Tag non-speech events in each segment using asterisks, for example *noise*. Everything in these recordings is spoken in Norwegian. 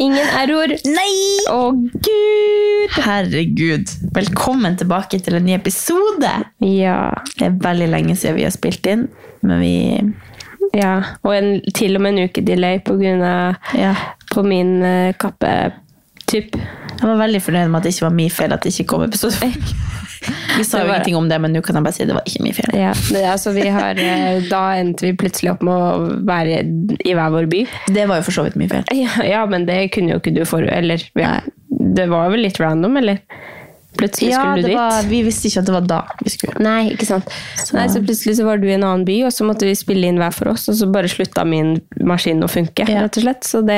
Ingen error. Nei! Å, gud! Herregud. Velkommen tilbake til en ny episode. Ja. Det er veldig lenge siden vi har spilt inn, men vi ja. Og en, til og med en ukedelay på grunn av Ja. på min eh, kappe. Typ. Jeg var veldig fornøyd med at det ikke var min feil at det ikke kom episode. Vi sa Det jo var- ingenting om det, men nå kan jeg bare si det var ikke min feil. Ja, det, altså vi har, eh, da endte vi plutselig opp med å være i hver vår by. Det var jo for så vidt min feil. Ja, *laughs* ja men det kunne jo ikke du for... Eller, ja. Det var vel litt random, eller? Plutselig Ja, skulle du det dit. var, vi visste ikke at det var da vi skulle. Nei, ikke sant. Så. Nei, så plutselig så var du i en annen by, og så måtte vi spille inn hver for oss, og så bare slutta min maskin å funke, Ja. rett og slett. Så det,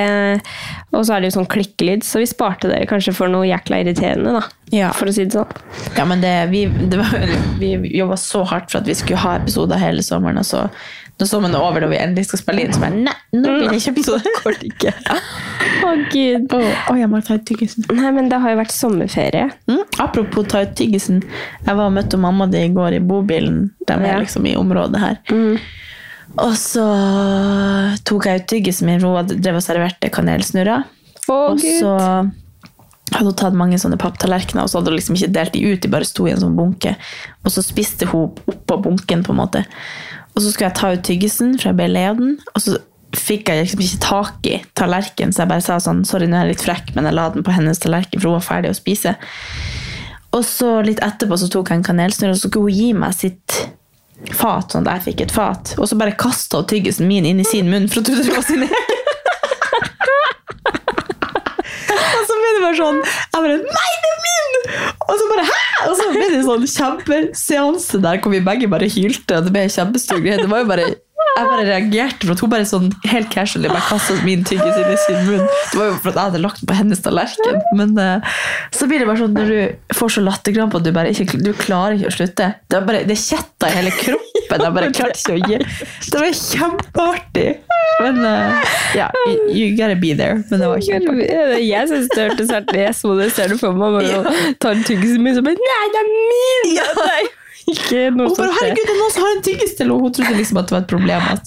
og så er det jo sånn klikkelyd, så vi sparte dere kanskje for noe jækla irriterende, da. Ja. For å si det sånn. Ja, men det, vi, det var, vi jobba så hardt for at vi skulle ha episoder hele sommeren, og så når sommeren er over og vi endelig skal spille inn, så bare nei, *laughs* nå blir det ikke episode. Går det ikke. Å, gud. Å, å, jeg må ta ut tyggisen. Nei, men det har jo vært sommerferie. Mm, apropos ta ut tyggisen. Jeg var og møtte mamma di i går i bobilen. De er Ja. Mm. liksom i området her. Og så tok jeg ut tyggisen min. Hun hadde drevet og serverte kanelsnurrer. Å, og gud. så hadde hun tatt mange sånne papptallerkener, og så hadde hun liksom ikke delt de ut, de bare sto i en sånn bunke. Og så spiste hun oppå bunken, på en måte. Og så skulle jeg ta ut tyggisen, for jeg ble lei av den. Og så fikk jeg liksom ikke tak i tallerkenen, så jeg bare sa sånn, sorry, nå er jeg litt frekk, men jeg la den på hennes tallerken, for hun var ferdig å spise. Og så litt etterpå så tok jeg en kanelsnurr, og så skulle hun gi meg sitt fat, sånn at jeg fikk et fat. Og så bare kasta hun tyggisen min inn i sin munn, for hun trodde det var sin egen. Og *laughs* så ble det bare sånn Jeg bare Nei, det er min! Og så bare Hæ?! Og så ble det sånn kjempeseanse der hvor vi begge bare hylte. Og det ble en kjempestor greie. Det var jo bare jeg bare reagerte for at hun bare sånn helt casually bare kastet min tyggis inn i sin munn. Det var jo for at jeg hadde lagt den på hennes tallerken. Men eh, så blir det bare sånn når du får så latterkramp at du bare ikke du klarer ikke å slutte. Det, var bare, det kjetta i hele kroppen. Jeg bare klarte ikke å gi. Det var kjempeartig. Men eh, ja, you, you gotta be there. Men det var *laughs* kjempeartig. Jeg syns det hørtes hardt ut. Jeg så det, ser du for *laughs* meg. Bare tar tyggisen min, så bare Nei, det er min! Ja. *laughs* Det er jo ikke noe Hun bare, som skjer. herregud, det er noen som har en tyggis til henne. Hun trodde liksom at det var et problem at,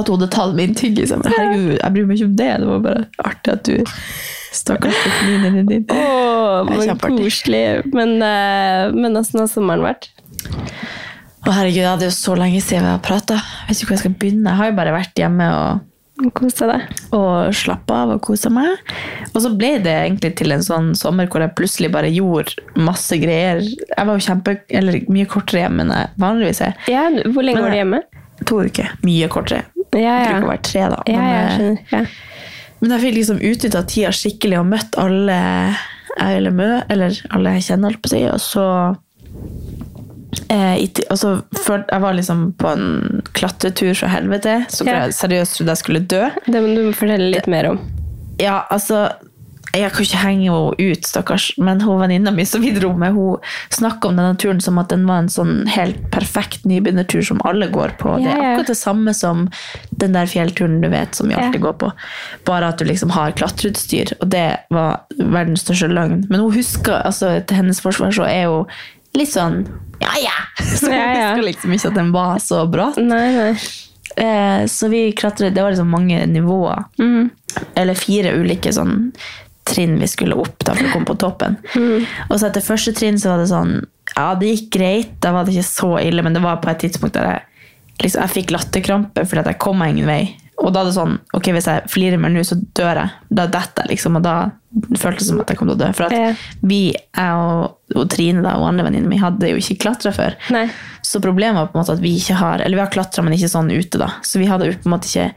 at hun hadde tatt min tyggis. Jeg bare, herregud, jeg bryr meg ikke om det. Det var bare artig at du stakkars fikk minen din. Åh, Det er men kjempeartig. koselig. Men, eh, men åssen har sommeren vært? Å herregud, ja, det er jo så lenge siden vi har pratet. Jeg vet ikke hvor jeg skal begynne. Jeg har jo bare vært hjemme og, Kos deg, da. og slappet av og koset meg. Og så ble det egentlig til en sånn sommer hvor jeg plutselig bare gjorde masse greier. Jeg var jo kjempe, eller mye kortere hjemme enn jeg vanligvis er. Ja, hvor lenge Men- var du hjemme? To uker. Mye kortere. Ja, Jeg ja. bruker å være tre da. Ja, men, jeg eh, skjønner. Ja. Men jeg fikk liksom utnytta tida skikkelig og møtt alle jeg ville mø, eller alle jeg kjenner, holdt på å si. Og så, eh, i ti- og så før, Jeg var liksom på en klatretur fra helvete, så Ja. jeg seriøst trodde jeg skulle dø. Det må du fortelle litt mer om. Ja, altså jeg kan ikke henge henne ut, stakkars, men hun venninna mi som vi dro med, hun snakka om denne turen som at den var en sånn helt perfekt nybegynnertur som alle går på. Det Ja, er ja. akkurat det samme som den der fjellturen du vet som vi Ja. alltid går på, bare at du liksom har klatreutstyr, og det var verdens største løgn. Men hun husker, altså til hennes forsvar så er hun litt sånn ja ja! *laughs* Så hun Ja, ja. husker liksom ikke at den var så bratt. Nei, nei. Eh, så vi klatret, det var liksom mange nivåer. Mm. Eller fire ulike sånn trinn vi skulle opp da, for å komme på toppen. Mm. Og så etter første trinn så var det sånn, ja det gikk greit, da var det ikke så ille, men det var på et tidspunkt der jeg, liksom, jeg fikk latterkrampe fordi at jeg kom meg ingen vei. Og da er det sånn, ok, hvis jeg flirer mer nå, så dør jeg. Da detter jeg, liksom, og da føltes det som at jeg kom til å dø. For at Ja. vi, jeg og, og Trine da, og andre venninne mi, hadde jo ikke klatra før. Nei. Så problemet var på en måte at vi ikke har, eller vi har klatra, men ikke sånn ute da. Så vi hadde jo på en måte ikke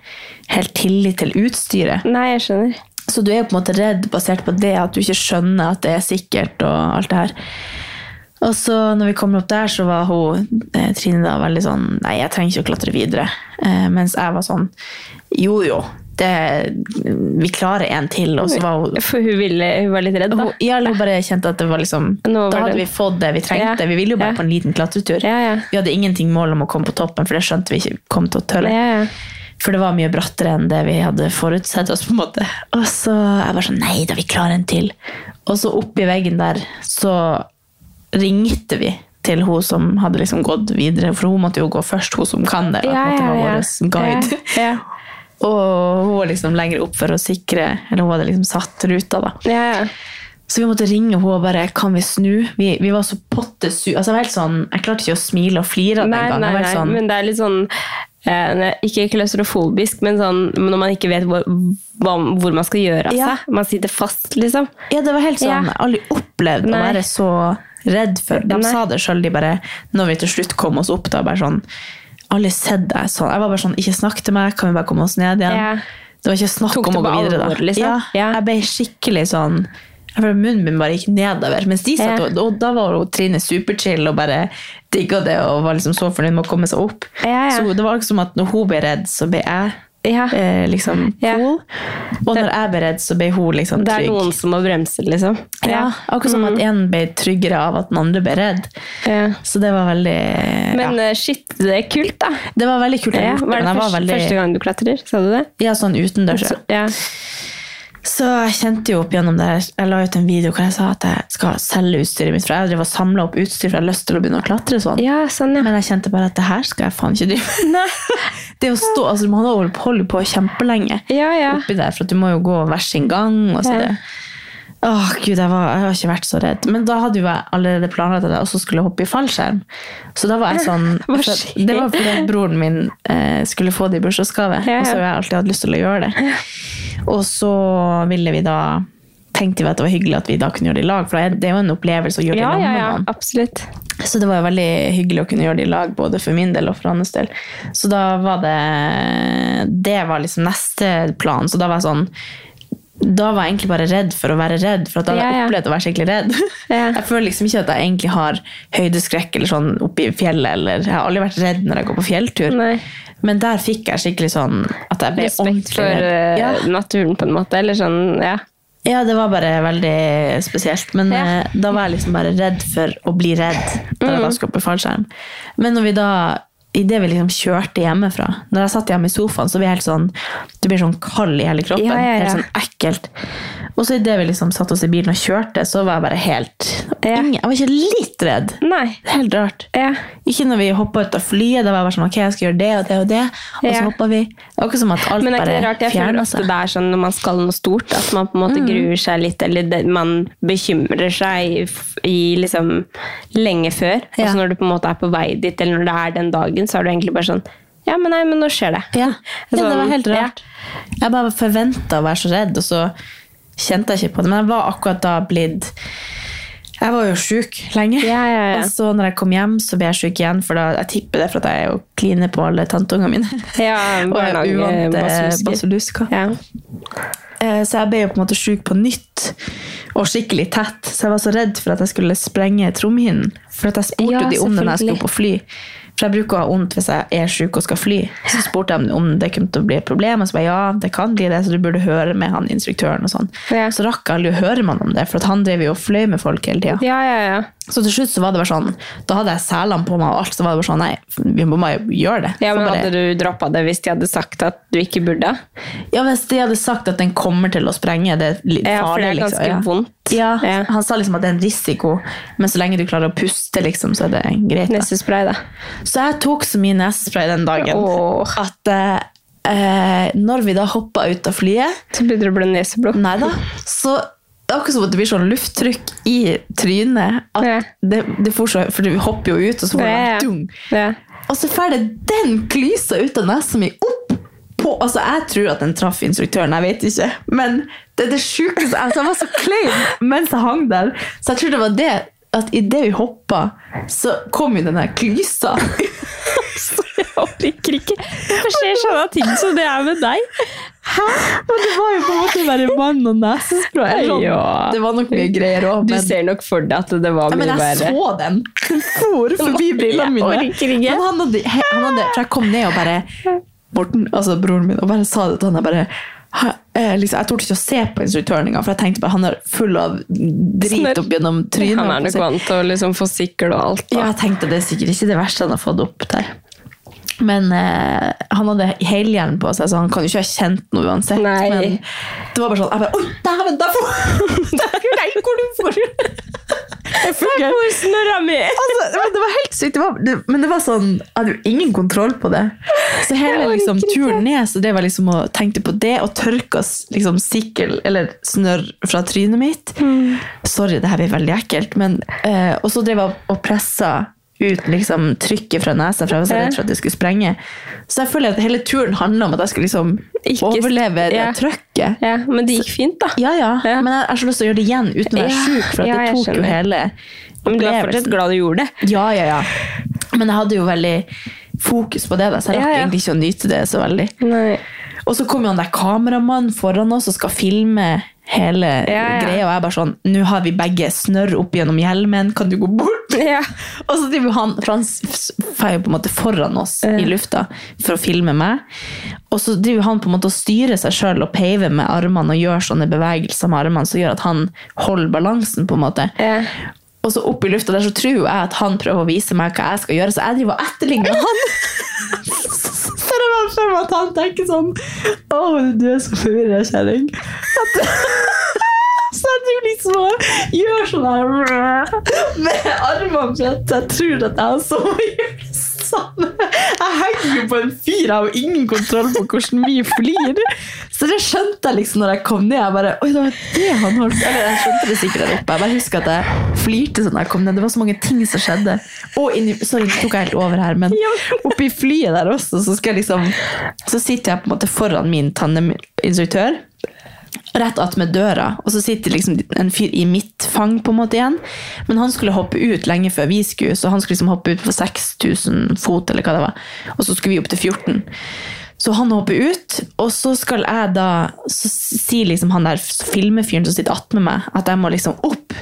helt tillit til utstyret. Nei, jeg skjønner. Så du er jo på en måte redd basert på det at du ikke skjønner at det er sikkert og alt det her. Og så når vi kommer opp der, så var hun, eh, Trine da veldig sånn Nei, jeg trenger ikke å klatre videre. Eh, mens jeg var sånn Jo, jo. Det, vi klarer en til. Og så var hun For hun, ville, hun var litt redd, da. hun, ja, eller hun bare kjente at det var liksom Nå var Da hadde det- vi fått det vi trengte. Ja. Vi ville jo bare Ja. på en liten klatretur. Ja, ja. Vi hadde ingenting mål om å komme på toppen, for det skjønte vi ikke kom til å tørre. Ja, ja. For det var mye brattere enn det vi hadde forutsett oss. på en måte. Og så jeg var sånn Nei da, vi klarer en til. Og så oppi veggen der så ringte vi til hun som hadde liksom gått videre, for hun måtte jo gå først, hun som kan det. da, på en måte, var vår guide. Ja, ja. *laughs* Og hun var liksom lenger opp for å sikre Eller hun hadde liksom satt ruta, da. ja, ja. Så vi måtte ringe henne og bare Kan vi snu? Vi, vi var så pottesu altså, jeg, var helt sånn, jeg klarte ikke å smile og flire den Nei, gangen. nei, Jeg var nei, helt sånn, men det er litt sånn eh, ne- ikke klaustrofobisk, men sånn når man ikke vet hvor, hva, hvor man skal gjøre av Ja. seg. Man sitter fast, liksom. Ja, det var helt sånn, Ja. Jeg har aldri opplevd å Nei. være så redd for De Nei. sa det sjøl, de bare Når vi til slutt kom oss opp, da bare sånn Aldri sett deg sånn. Jeg var bare sånn Ikke snakk til meg, kan vi bare komme oss ned igjen? Ja. Det var ikke snakk Tok om det å gå på videre, da. alvor, liksom? Ja, Ja. Jeg ble skikkelig sånn jeg føler Munnen min bare gikk nedover. Mens de satt, Ja. og, og da var jo Trine superchill og bare digga det og var liksom så fornøyd med å komme seg opp. Ja, ja. Så det var akkurat som at når hun ble redd, så ble jeg Ja. eh, liksom Ja. cool. Og når jeg ble redd, så ble hun liksom Det er trygg. noen som må bremse, liksom. Mm. Ja, akkurat som at en ble tryggere av at den andre ble redd. Ja. Så det var veldig Men ja. eh, shit, det er kult, da. Det var veldig kult. å Ja, gjøre, var men det jeg første, var veldig, første gang du klatrer? Sa du det? Ja, sånn utendørs. Så, ja. ja. Så jeg kjente jo opp gjennom det. her. Jeg la ut en video hvor jeg sa at jeg skal selge utstyret mitt, for jeg drev og samla opp utstyr, for jeg har lyst til å begynne å klatre sånn. ja, sånn, ja. Men jeg kjente bare at det her skal jeg faen ikke drive med. Det å stå, altså Man har holdt- holdt på kjempelenge Ja, ja. oppi der, for at du må jo gå hver sin gang. Og så Ja. det. Åh, Gud, jeg, var, jeg har ikke vært så redd. Men da hadde jo jeg allerede planlagt at jeg også skulle hoppe i fallskjerm. Så da var jeg sånn *laughs* Hva for- skjer? Det var fordi broren min eh, skulle få det i bursdagsgave, Ja, ja. og så har jeg alltid hatt lyst til å gjøre det. Og så ville vi da tenkte vi at det var hyggelig at vi da kunne gjøre det i lag, for det er- det er jo en opplevelse å gjøre det i Ja, lag ja, med ja. noen. Absolutt. Så det var jo veldig hyggelig å kunne gjøre det i lag, både for min del og for hans del. Så da var det Det var liksom neste plan. Så da var jeg sånn da var jeg egentlig bare redd for å være redd, for at da hadde jeg Ja, ja. opplevd å være skikkelig redd. *laughs* *laughs* Ja. Jeg føler liksom ikke at jeg egentlig har høydeskrekk eller sånn oppe i fjellet, eller jeg har aldri vært redd når jeg går på fjelltur. Nei. Men der fikk jeg skikkelig sånn at jeg ble Respekt ordentlig for redd. eh, Ja. naturen, på en måte. Eller sånn, ja. Ja, det var bare veldig spesielt. Men Ja. Mm. eh, da var jeg liksom bare redd for å bli redd da jeg da skulle opp i fallskjerm. Men når vi da Idet vi liksom kjørte hjemmefra Når jeg satt hjemme i sofaen, så blir jeg helt sånn Du blir sånn kald i hele kroppen. Ja, ja, ja. Helt sånn ekkelt. Og så idet vi liksom satt oss i bilen og kjørte, så var jeg bare helt Ja. ingen, Jeg var ikke litt redd. Nei. Det er Helt rart. Ja. Ikke når vi hoppa ut av flyet. Da var jeg bare sånn Ok, jeg skal gjøre det og det og det. Og så Ja. hoppa vi. Det var ikke som at alt Men det er ikke bare altså. det rart. Jeg føler fjerna ofte seg. det er sånn når man skal noe stort, at man på en måte Mm. gruer seg litt, eller det, man bekymrer seg i, f- i liksom lenge før. Og Ja. så når du på en måte er på vei dit, eller når det er den dagen, så er du egentlig bare sånn Ja, men nei, men nå skjer det. Ja, ja Sånn, det var helt rart. Jeg bare forventa å være så redd, og så kjente jeg ikke på det. Men jeg var akkurat da blitt Jeg var jo sjuk lenge. Ja, ja, ja. Og så når jeg kom hjem, så ble jeg sjuk igjen, for da, jeg tipper det er for at jeg er jo kline på alle tanteungene mine. Ja, *laughs* og jeg er barnehage- uvant eh, basilusker. basilusker. Ja. Eh, Så jeg ble jo på en måte sjuk på nytt, og skikkelig tett. Så jeg var så redd for at jeg skulle sprenge trommehinnen. For at jeg spurte Ja, de om det når jeg skulle selvfølgelig. opp og fly. For jeg bruker å ha vondt hvis jeg er sjuk og skal fly. Så spurte jeg om det kunne til å bli et problem, og så ba jeg, ja, det kan bli det, så du burde høre med han instruktøren og sånn. Ja. Så rakk jeg aldri å høre med han om det, for at han drev jo og fløy med folk hele tida. ja, ja, ja. Så til slutt så var det bare sånn, da hadde jeg selene på meg og alt, så var det bare sånn, nei, vi må bare gjøre det. Ja, For men bare- Hadde du droppa det hvis de hadde sagt at du ikke burde? Ja, hvis de hadde sagt at den kommer til å sprenge, det er litt Ja, for det er farlig. ganske liksom. vondt. Ja. Ja. Ja. Han sa liksom at det er en risiko, men så lenge du klarer å puste, liksom, så er det greit. da. Nesespray, da. Så jeg tok så mye nesespray den dagen Åh. at eh, eh, når vi da hoppa ut av flyet Så begynner det å bli neseblokk. Nei da, så det er akkurat som at det blir sånn lufttrykk i trynet. At Ja. det, det får så, for du hopper jo ut, og så får du Ja, en ja. dung. Ja. Og så får det den klysa ut av nesa mi opp på Altså, jeg tror at den traff instruktøren, jeg vet ikke. Men det er det sjukeste altså, Jeg var så klein mens jeg hang der. Så jeg tror det var det at idet vi hoppa, så kom jo den der klysa. Så jeg *laughs* orker ikke. Hvorfor skjer sånne ting som det er med deg? Hæ? Men det var jo på en måte bare vann og nesespray. eller sånn. Ja. Det var nok mye greier òg, Du men ser nok for deg at det var Ja, men mye jeg verre. så den. Den for forbi brillene Jeg mine. orker ikke. Men han hadde, he- han hadde, for jeg kom ned og bare Morten, altså broren min, og bare sa det til han. Jeg bare «Hæ?» Eh, liksom, jeg torde ikke å se på instruktøren engang, for jeg tenkte bare han er full av Snørr. drit opp gjennom trynet. Han er nok vant til å liksom få sikkel og alt. Ja, Da. jeg tenkte det er sikkert ikke det verste han har fått opp der. Men eh, han hadde helhjelm på seg, så han kan jo ikke ha kjent noe uansett. Nei. Men det var bare sånn Jeg bare Oi, dæven, *laughs* der får Der går du for! Jeg Der får går snørra mi! Altså, det var- det var helt sykt. Det var, det, men det var sånn Jeg hadde jo ingen kontroll på det. Så hele orker liksom, ikke. turen ned så det var liksom å tenkte på det og tørka s- liksom, sikkel eller snørr fra trynet mitt. Mm. Sorry, det her blir veldig ekkelt, men eh, Og så drev jeg og pressa ut liksom, trykket fra nesa, for jeg var så redd for at det skulle sprenge. Så jeg føler at hele turen handler om at jeg skal liksom Ikke- overleve det ja. trykket. Ja, men det gikk fint, da. Ja, ja, Ja. men jeg jeg har så lyst til å gjøre det igjen uten å være Ja, sjuk, for at ja, det jeg tok jo skjønner. hele Men du er fortsatt opplevelsen. glad du gjorde det. Ja, ja, ja. Men jeg hadde jo veldig fokus på det, da, så jeg Ja, rakk ja. egentlig ikke å nyte det så veldig. Nei. Og så kom jo han der kameramannen foran oss og skal filme hele Ja, ja. greia, og jeg bare sånn, nå har vi begge snørr opp gjennom hjelmen, kan du gå bort? Ja. *laughs* Og så driver han, for han s- feier på en måte foran oss i lufta for å filme meg. Og så driver han på en måte og styrer seg selv og peiver med armene og gjør sånne bevegelser med armene som gjør at han holder balansen på en måte. Ja. Og så opp i lufta der så tror jeg at han prøver å vise meg hva jeg skal gjøre, så jeg driver og etterligner han. *laughs* Så det var frem at han tenker sånn, å, du er så forvirret, kjæring. Så jeg driver liksom og gjør sånn her med armene for at jeg tror at jeg så gjør det samme. Jeg henger jo på en fyr, jeg har jo ingen kontroll på hvordan vi flir. Så det skjønte jeg liksom når jeg kom ned. Jeg bare, oi, det var det han holdt Eller jeg skjønte det sikkert der oppe. Jeg bare husker at jeg flirte sånn da jeg kom ned. Det var så mange ting som skjedde. Og inni, sorry, nå tok jeg helt over her, men oppi flyet der også, så skal jeg liksom Så sitter jeg på en måte foran min tandeminstruktør rett attmed døra, og så sitter liksom en fyr i mitt fang på en måte igjen. Men han skulle hoppe ut lenge før vi skulle, så han skulle liksom hoppe ut på 6000 fot, eller hva det var. Og så skulle vi opp til 14. Så han hopper ut, og så skal jeg da Så sier liksom han der filmefyren som sitter attmed meg, at jeg må liksom opp.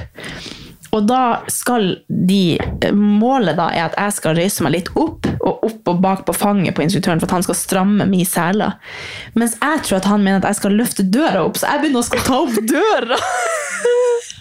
Og da skal de Målet da er at jeg skal røyse meg litt opp, og opp og bak på fanget på instruktøren for at han skal stramme mine seler. Mens jeg tror at han mener at jeg skal løfte døra opp, så jeg begynner å skal ta opp døra.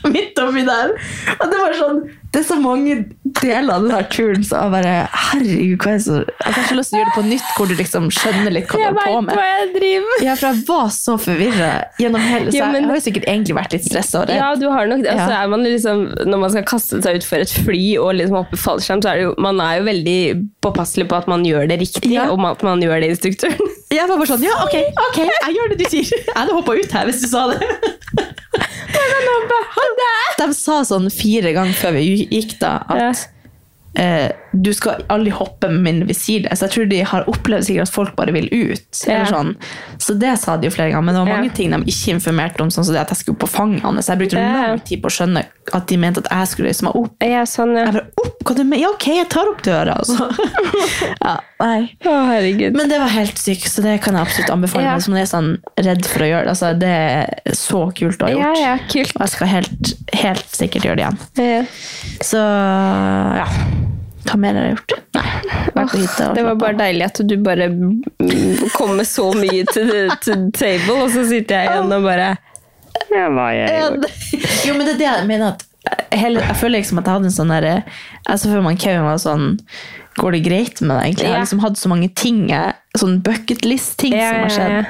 *laughs* Midt oppi der. Og det var sånn Det er så mange deler av den her turen så jeg bare Herregud, hva er det så Jeg har så lyst til å gjøre det på nytt, hvor du liksom skjønner litt hva du Jeg holder på veit med. hva jeg driver med. Ja, for jeg var så forvirra gjennom hele Så Ja, jeg, men- jeg har jo sikkert egentlig vært litt stressa og redd. Ja, du har nok det. Og så Ja. er man liksom, når man skal kaste seg ut for et fly og liksom hoppe fallskjerm, så er det jo, man er jo veldig påpasselig på at man gjør det riktig, Ja. og at man gjør det *laughs* instruktøren. Jeg var bare sånn, ja, *laughs* ok, ok, jeg gjør det du sier. Jeg hadde hoppa ut her hvis du sa det. *laughs* De sa sånn fire ganger før vi gikk, da, at eh, du skal aldri hoppe med mindre vi sier det. Så jeg tror de har opplevd sikkert at folk bare vil ut. Ja. Eller sånn. Så det sa de jo flere ganger. Men det var mange Ja. ting de ikke informerte om, sånn som det at jeg skulle opp på fanget hans. Jeg brukte Ja. lang tid på å skjønne at de mente at jeg skulle reise meg opp. Ja, sånn, ja. Jeg bare, opp, hva du mener? Ja, ok, jeg tar opp døra, altså. *laughs* ja, nei. Å, herregud. Men det var helt sykt, så det kan jeg absolutt anbefale. Ja. Ja. Som jeg er sånn redd for å gjøre det. Altså, det er så kult å ha Ja, gjort. ja, kult. Og jeg skal helt, helt sikkert gjøre det igjen. Ja. Så ja. Hva mer har jeg gjort? Nei, vært på hytta. og Det var slappet bare av. deilig at du bare mm, kom med så mye til, til table, og så sitter jeg igjen og bare ja, hva har jeg gjort? *laughs* Jo, men det er det jeg mener at hele, Jeg føler liksom at jeg hadde en sånn derre Jeg så føler man Kevin var sånn Går det greit med deg, egentlig? Jeg Ja. har liksom hatt så mange ting, jeg- sånn bucket list ting Ja, som har ja, ja. skjedd,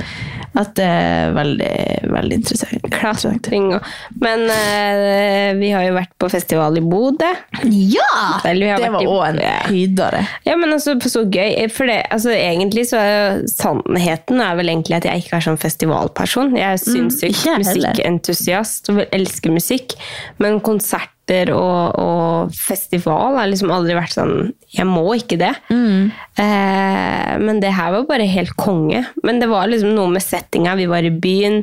at det er veldig, veldig interessant. Klatring og Men eh, vi har jo vært på festival i Bodø. Ja! Eller vi har Det vært var i- òg en Ja. høydare. Ja, men altså, så gøy. For det, altså, egentlig så er jo sannheten er vel egentlig at jeg ikke er sånn festivalperson. Jeg er sinnssykt Mm, ikke jeg heller. musikkentusiast og elsker musikk, men konserter konserter og, og festival. Jeg har liksom aldri vært sånn Jeg må ikke det. Mm. Eh, men det her var bare helt konge. Men det var liksom noe med settinga. Vi var i byen.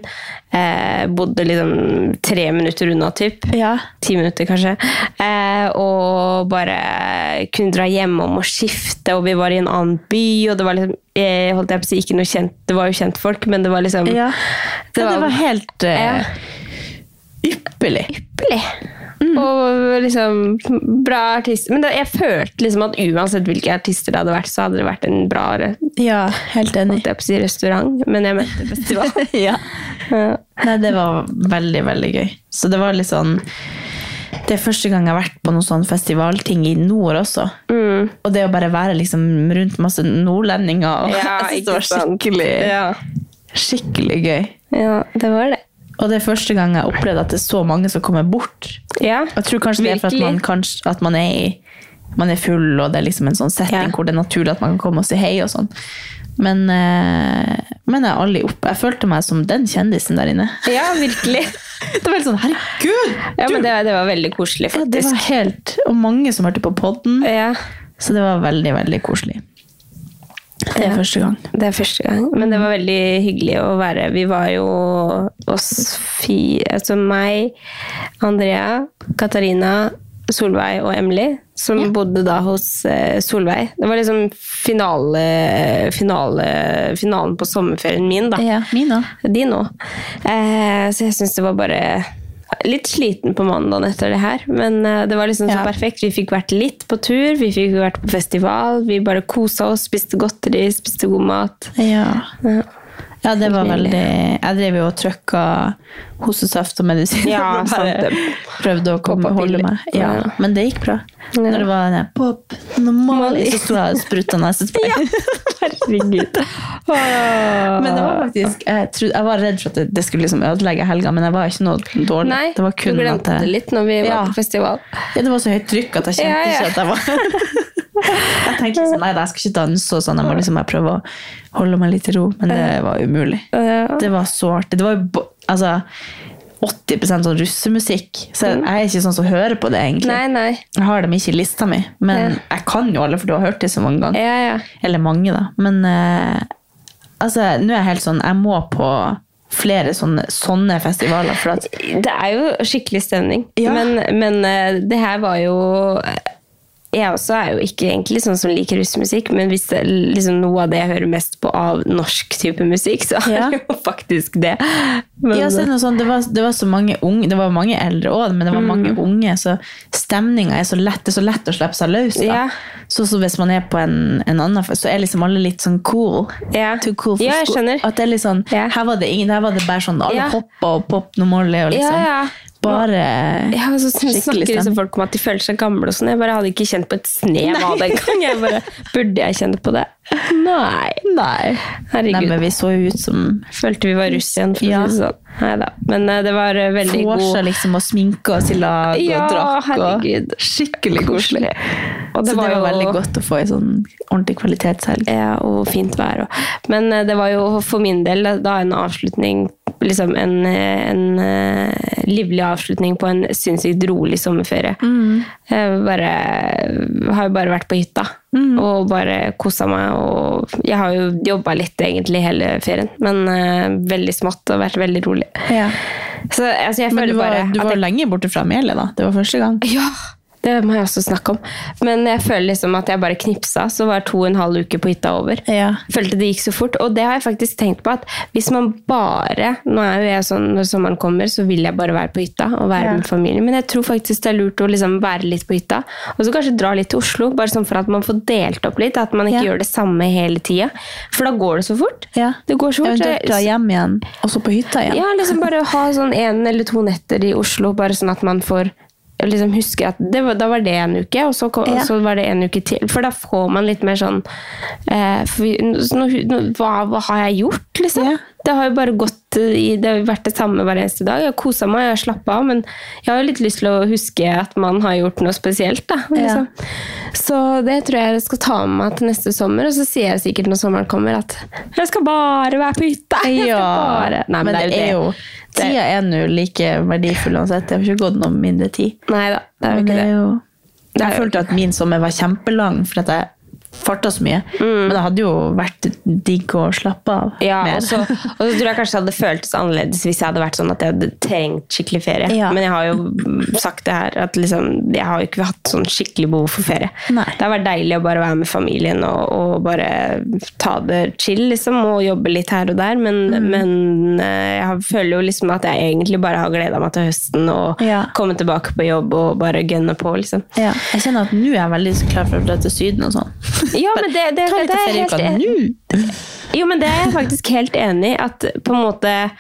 Eh, bodde liksom tre minutter unna, typ. Ja. Ti minutter, kanskje. Eh, og bare kunne dra hjemom og skifte, og vi var i en annen by, og det var liksom eh, holdt jeg på å si, ikke noe kjent, Det var jo kjentfolk, men det var liksom Ja. Det Men var, det var helt eh, Ja. ypperlig. ypperlig. Mm. Og liksom bra artister. Men det, jeg følte liksom at uansett hvilke artister det hadde vært, så hadde det vært en bra Ja, helt enig. holdt jeg på å si, restaurant. Men jeg mente festival. *laughs* ja. Nei, det var veldig, veldig gøy. Så det var litt sånn Det er første gang jeg har vært på noen sånn festivalting i nord også. Mm. Og det å bare være liksom rundt masse nordlendinger *laughs* og Jeg synes det var skikkelig, Ja. skikkelig gøy. ja, det var det. Og det er første gang jeg opplevde at det er så mange som kommer bort. Ja, Og Jeg tror kanskje det er for at man, virkelig. kanskje, at man er i man er full, og det er liksom en sånn setting Ja. hvor det er naturlig at man kan komme og si hei og sånn. Men, eh, men jeg, er aldri opp. jeg følte meg som den kjendisen der inne. Ja, virkelig. *laughs* Det var helt sånn, herregud! Ja, men det, det var veldig koselig, Ja, det faktisk. var helt, og mange som hørte på podden. Ja, Så det var veldig, veldig koselig. Det er første gang. det er første gang. Men det var veldig hyggelig å være Vi var jo oss fire Altså meg, Andrea, Katarina, Solveig og Emily, som bodde da hos eh, Solveig. Det var liksom finale, finale, finalen på sommerferien min, da. Ja, min også. De nå. Eh, så jeg syns det var bare Litt sliten på mandagen etter det her, men eh, det var liksom Ja. så perfekt. Vi fikk vært litt på tur, vi fikk vært på festival, vi bare kosa oss, spiste godteri, spiste god *laughs* mat. Ja. Ja. Ja, det var veldig Jeg drev jo og trøkka hostesaft og medisin. *laughs* Ja, og sant det. prøvde å komme, Poppa holde piller. meg. Ja, Ja. men det gikk bra. Ja. Når det var den der, pop, normal, så sto jeg og spruta *laughs* nesespray. Herregud. Men det var faktisk, jeg, trodde, jeg var redd for at det- det skulle liksom ødelegge helga, men jeg var ikke noe dårlig. Nei, det var kun du at glemte jeg, det litt når vi var Ja. på festival. Ja, det var så høyt trykk at jeg kjente Ja, ja. ikke at jeg var *laughs* Jeg tenkte liksom, nei, nei, jeg skal ikke danse og sånn, jeg må liksom bare prøve å holde meg litt i ro, men det var umulig. Det var så artig. Det var jo bo- altså, 80 sånn russemusikk, så jeg er ikke sånn som hører på det, Mm. egentlig. Nei, nei. Jeg har dem ikke i lista mi, men jeg kan jo alle, for du har hørt det så mange ganger. Ja, ja. Eller mange, da. Men eh, altså, nå er jeg helt sånn Jeg må på flere sånne, sånne festivaler, for at Det er jo skikkelig stemning. Ja. Men, men eh, det her var jo eh, Jeg også er jo ikke egentlig sånn som liker russmusikk, men hvis det, er liksom, noe av det jeg hører mest på av norsk type musikk, så er Ja. det jo faktisk det. Men, eh, Ja, så er det, noe sånn, det, var, det var så mange unge, det var mange eldre òg, men det var mange Mm. unge, så stemninga er så lett, det er så lett å slippe seg løs. da. Ja. Så, så hvis man er på en, en annen fest, så er liksom alle litt sånn cool. Ja. Too cool for Ja, jeg school. skjønner. At det er litt sånn, Ja. her, var det ingen, her var det bare sånn, alle Ja. hoppa og pop noe molly og liksom. Ja, ja. Bare ja, så sn- snakker skikkelig stemning. liksom folk om at de føler seg gamle og sånn. Jeg bare hadde ikke kjent på et snev av det engang. Jeg bare, Burde jeg kjenne på det? Nei. Nei. Nei, Herregud. men vi så jo ut som Følte vi var russ igjen, for Ja. å si det sånn. Neida. Men eh, det var eh, veldig god vorsa liksom og sminka oss i lag Ja, og drakk. herregud. Og skikkelig koselig. Og det så var det var jo- veldig godt å få ei sånn ordentlig kvalitetshelg. Ja, og fint vær. Og. Men eh, det var jo for min del da en avslutning liksom en, eh, en eh, livlig avslutning på en sinnssykt rolig sommerferie. Mm. Jeg bare, har jo bare vært på hytta Mm. og bare kosa meg. Og jeg har jo jobba litt egentlig hele ferien, men eh, veldig smått og vært veldig rolig. Ja. Så altså, jeg Men føler du var, bare du at var jeg- lenge borte fra melet, da. Det var første gang. Ja, det må jeg også snakke om. Men jeg føler liksom at jeg bare knipsa, så var to og en halv uke på hytta over. Ja. Følte det gikk så fort. Og det har jeg faktisk tenkt på at hvis man bare Nå er jo jeg sånn når sommeren kommer, så vil jeg bare være på hytta og være med familien. Men jeg tror faktisk det er lurt å liksom være litt på hytta. Og så kanskje dra litt til Oslo, bare sånn for at man får delt opp litt. At man ikke Ja. gjør det samme hele tida. For da går det så fort. Det går så fort. Eventuelt dra hjem igjen, og så på hytta igjen. Ja, liksom bare ha sånn en eller to netter i Oslo, bare sånn at man får liksom huske at det var, Da var det en uke, og så, kom, Ja. så var det en uke til. For da får man litt mer sånn eh, for, vi- nå, nå, hva, hva har jeg gjort, liksom? Ja. Det har jo bare gått i, det har jo vært det samme hver eneste dag. Jeg har kosa meg, jeg har slappa av, men jeg har jo litt lyst til å huske at man har gjort noe spesielt. Da, Ja. liksom. Så det tror jeg jeg skal ta med meg til neste sommer. Og så sier jeg sikkert når sommeren kommer at jeg skal bare være på hytta. Jeg skal bare. Nei, men, det er jo det. det- Tida er nå like verdifull uansett. Jeg har ikke gått noe mindre tid. Nei da, det er jo Men ikke det. jo, Det er jeg jo- følte at min sommer var kjempelang, for at jeg farta så mye. Men det hadde jo vært digg å slappe av Mm. Ja, altså- mer. og så, og så tror jeg kanskje det hadde føltes annerledes hvis jeg hadde vært sånn at jeg hadde trengt skikkelig ferie. Ja. Men jeg har jo mm, sagt det her, at liksom, jeg har jo ikke hatt sånn skikkelig behov for ferie. Nei. Det har vært deilig å bare være med familien og, og bare ta det chill, liksom, og jobbe litt her og der. Men, men eh, jeg har- føler jo liksom at jeg egentlig bare har gleda meg til høsten og Ja. komme tilbake på jobb og bare gønne på, liksom. *laughs* Ja, jeg kjenner at nå er jeg veldig klar for å dra til Syden og sånn. Ja, men det, det, *laughs* Ta det, litt det av er helt ferieuka nå! Jo, men det er jeg faktisk helt enig i. At på en måte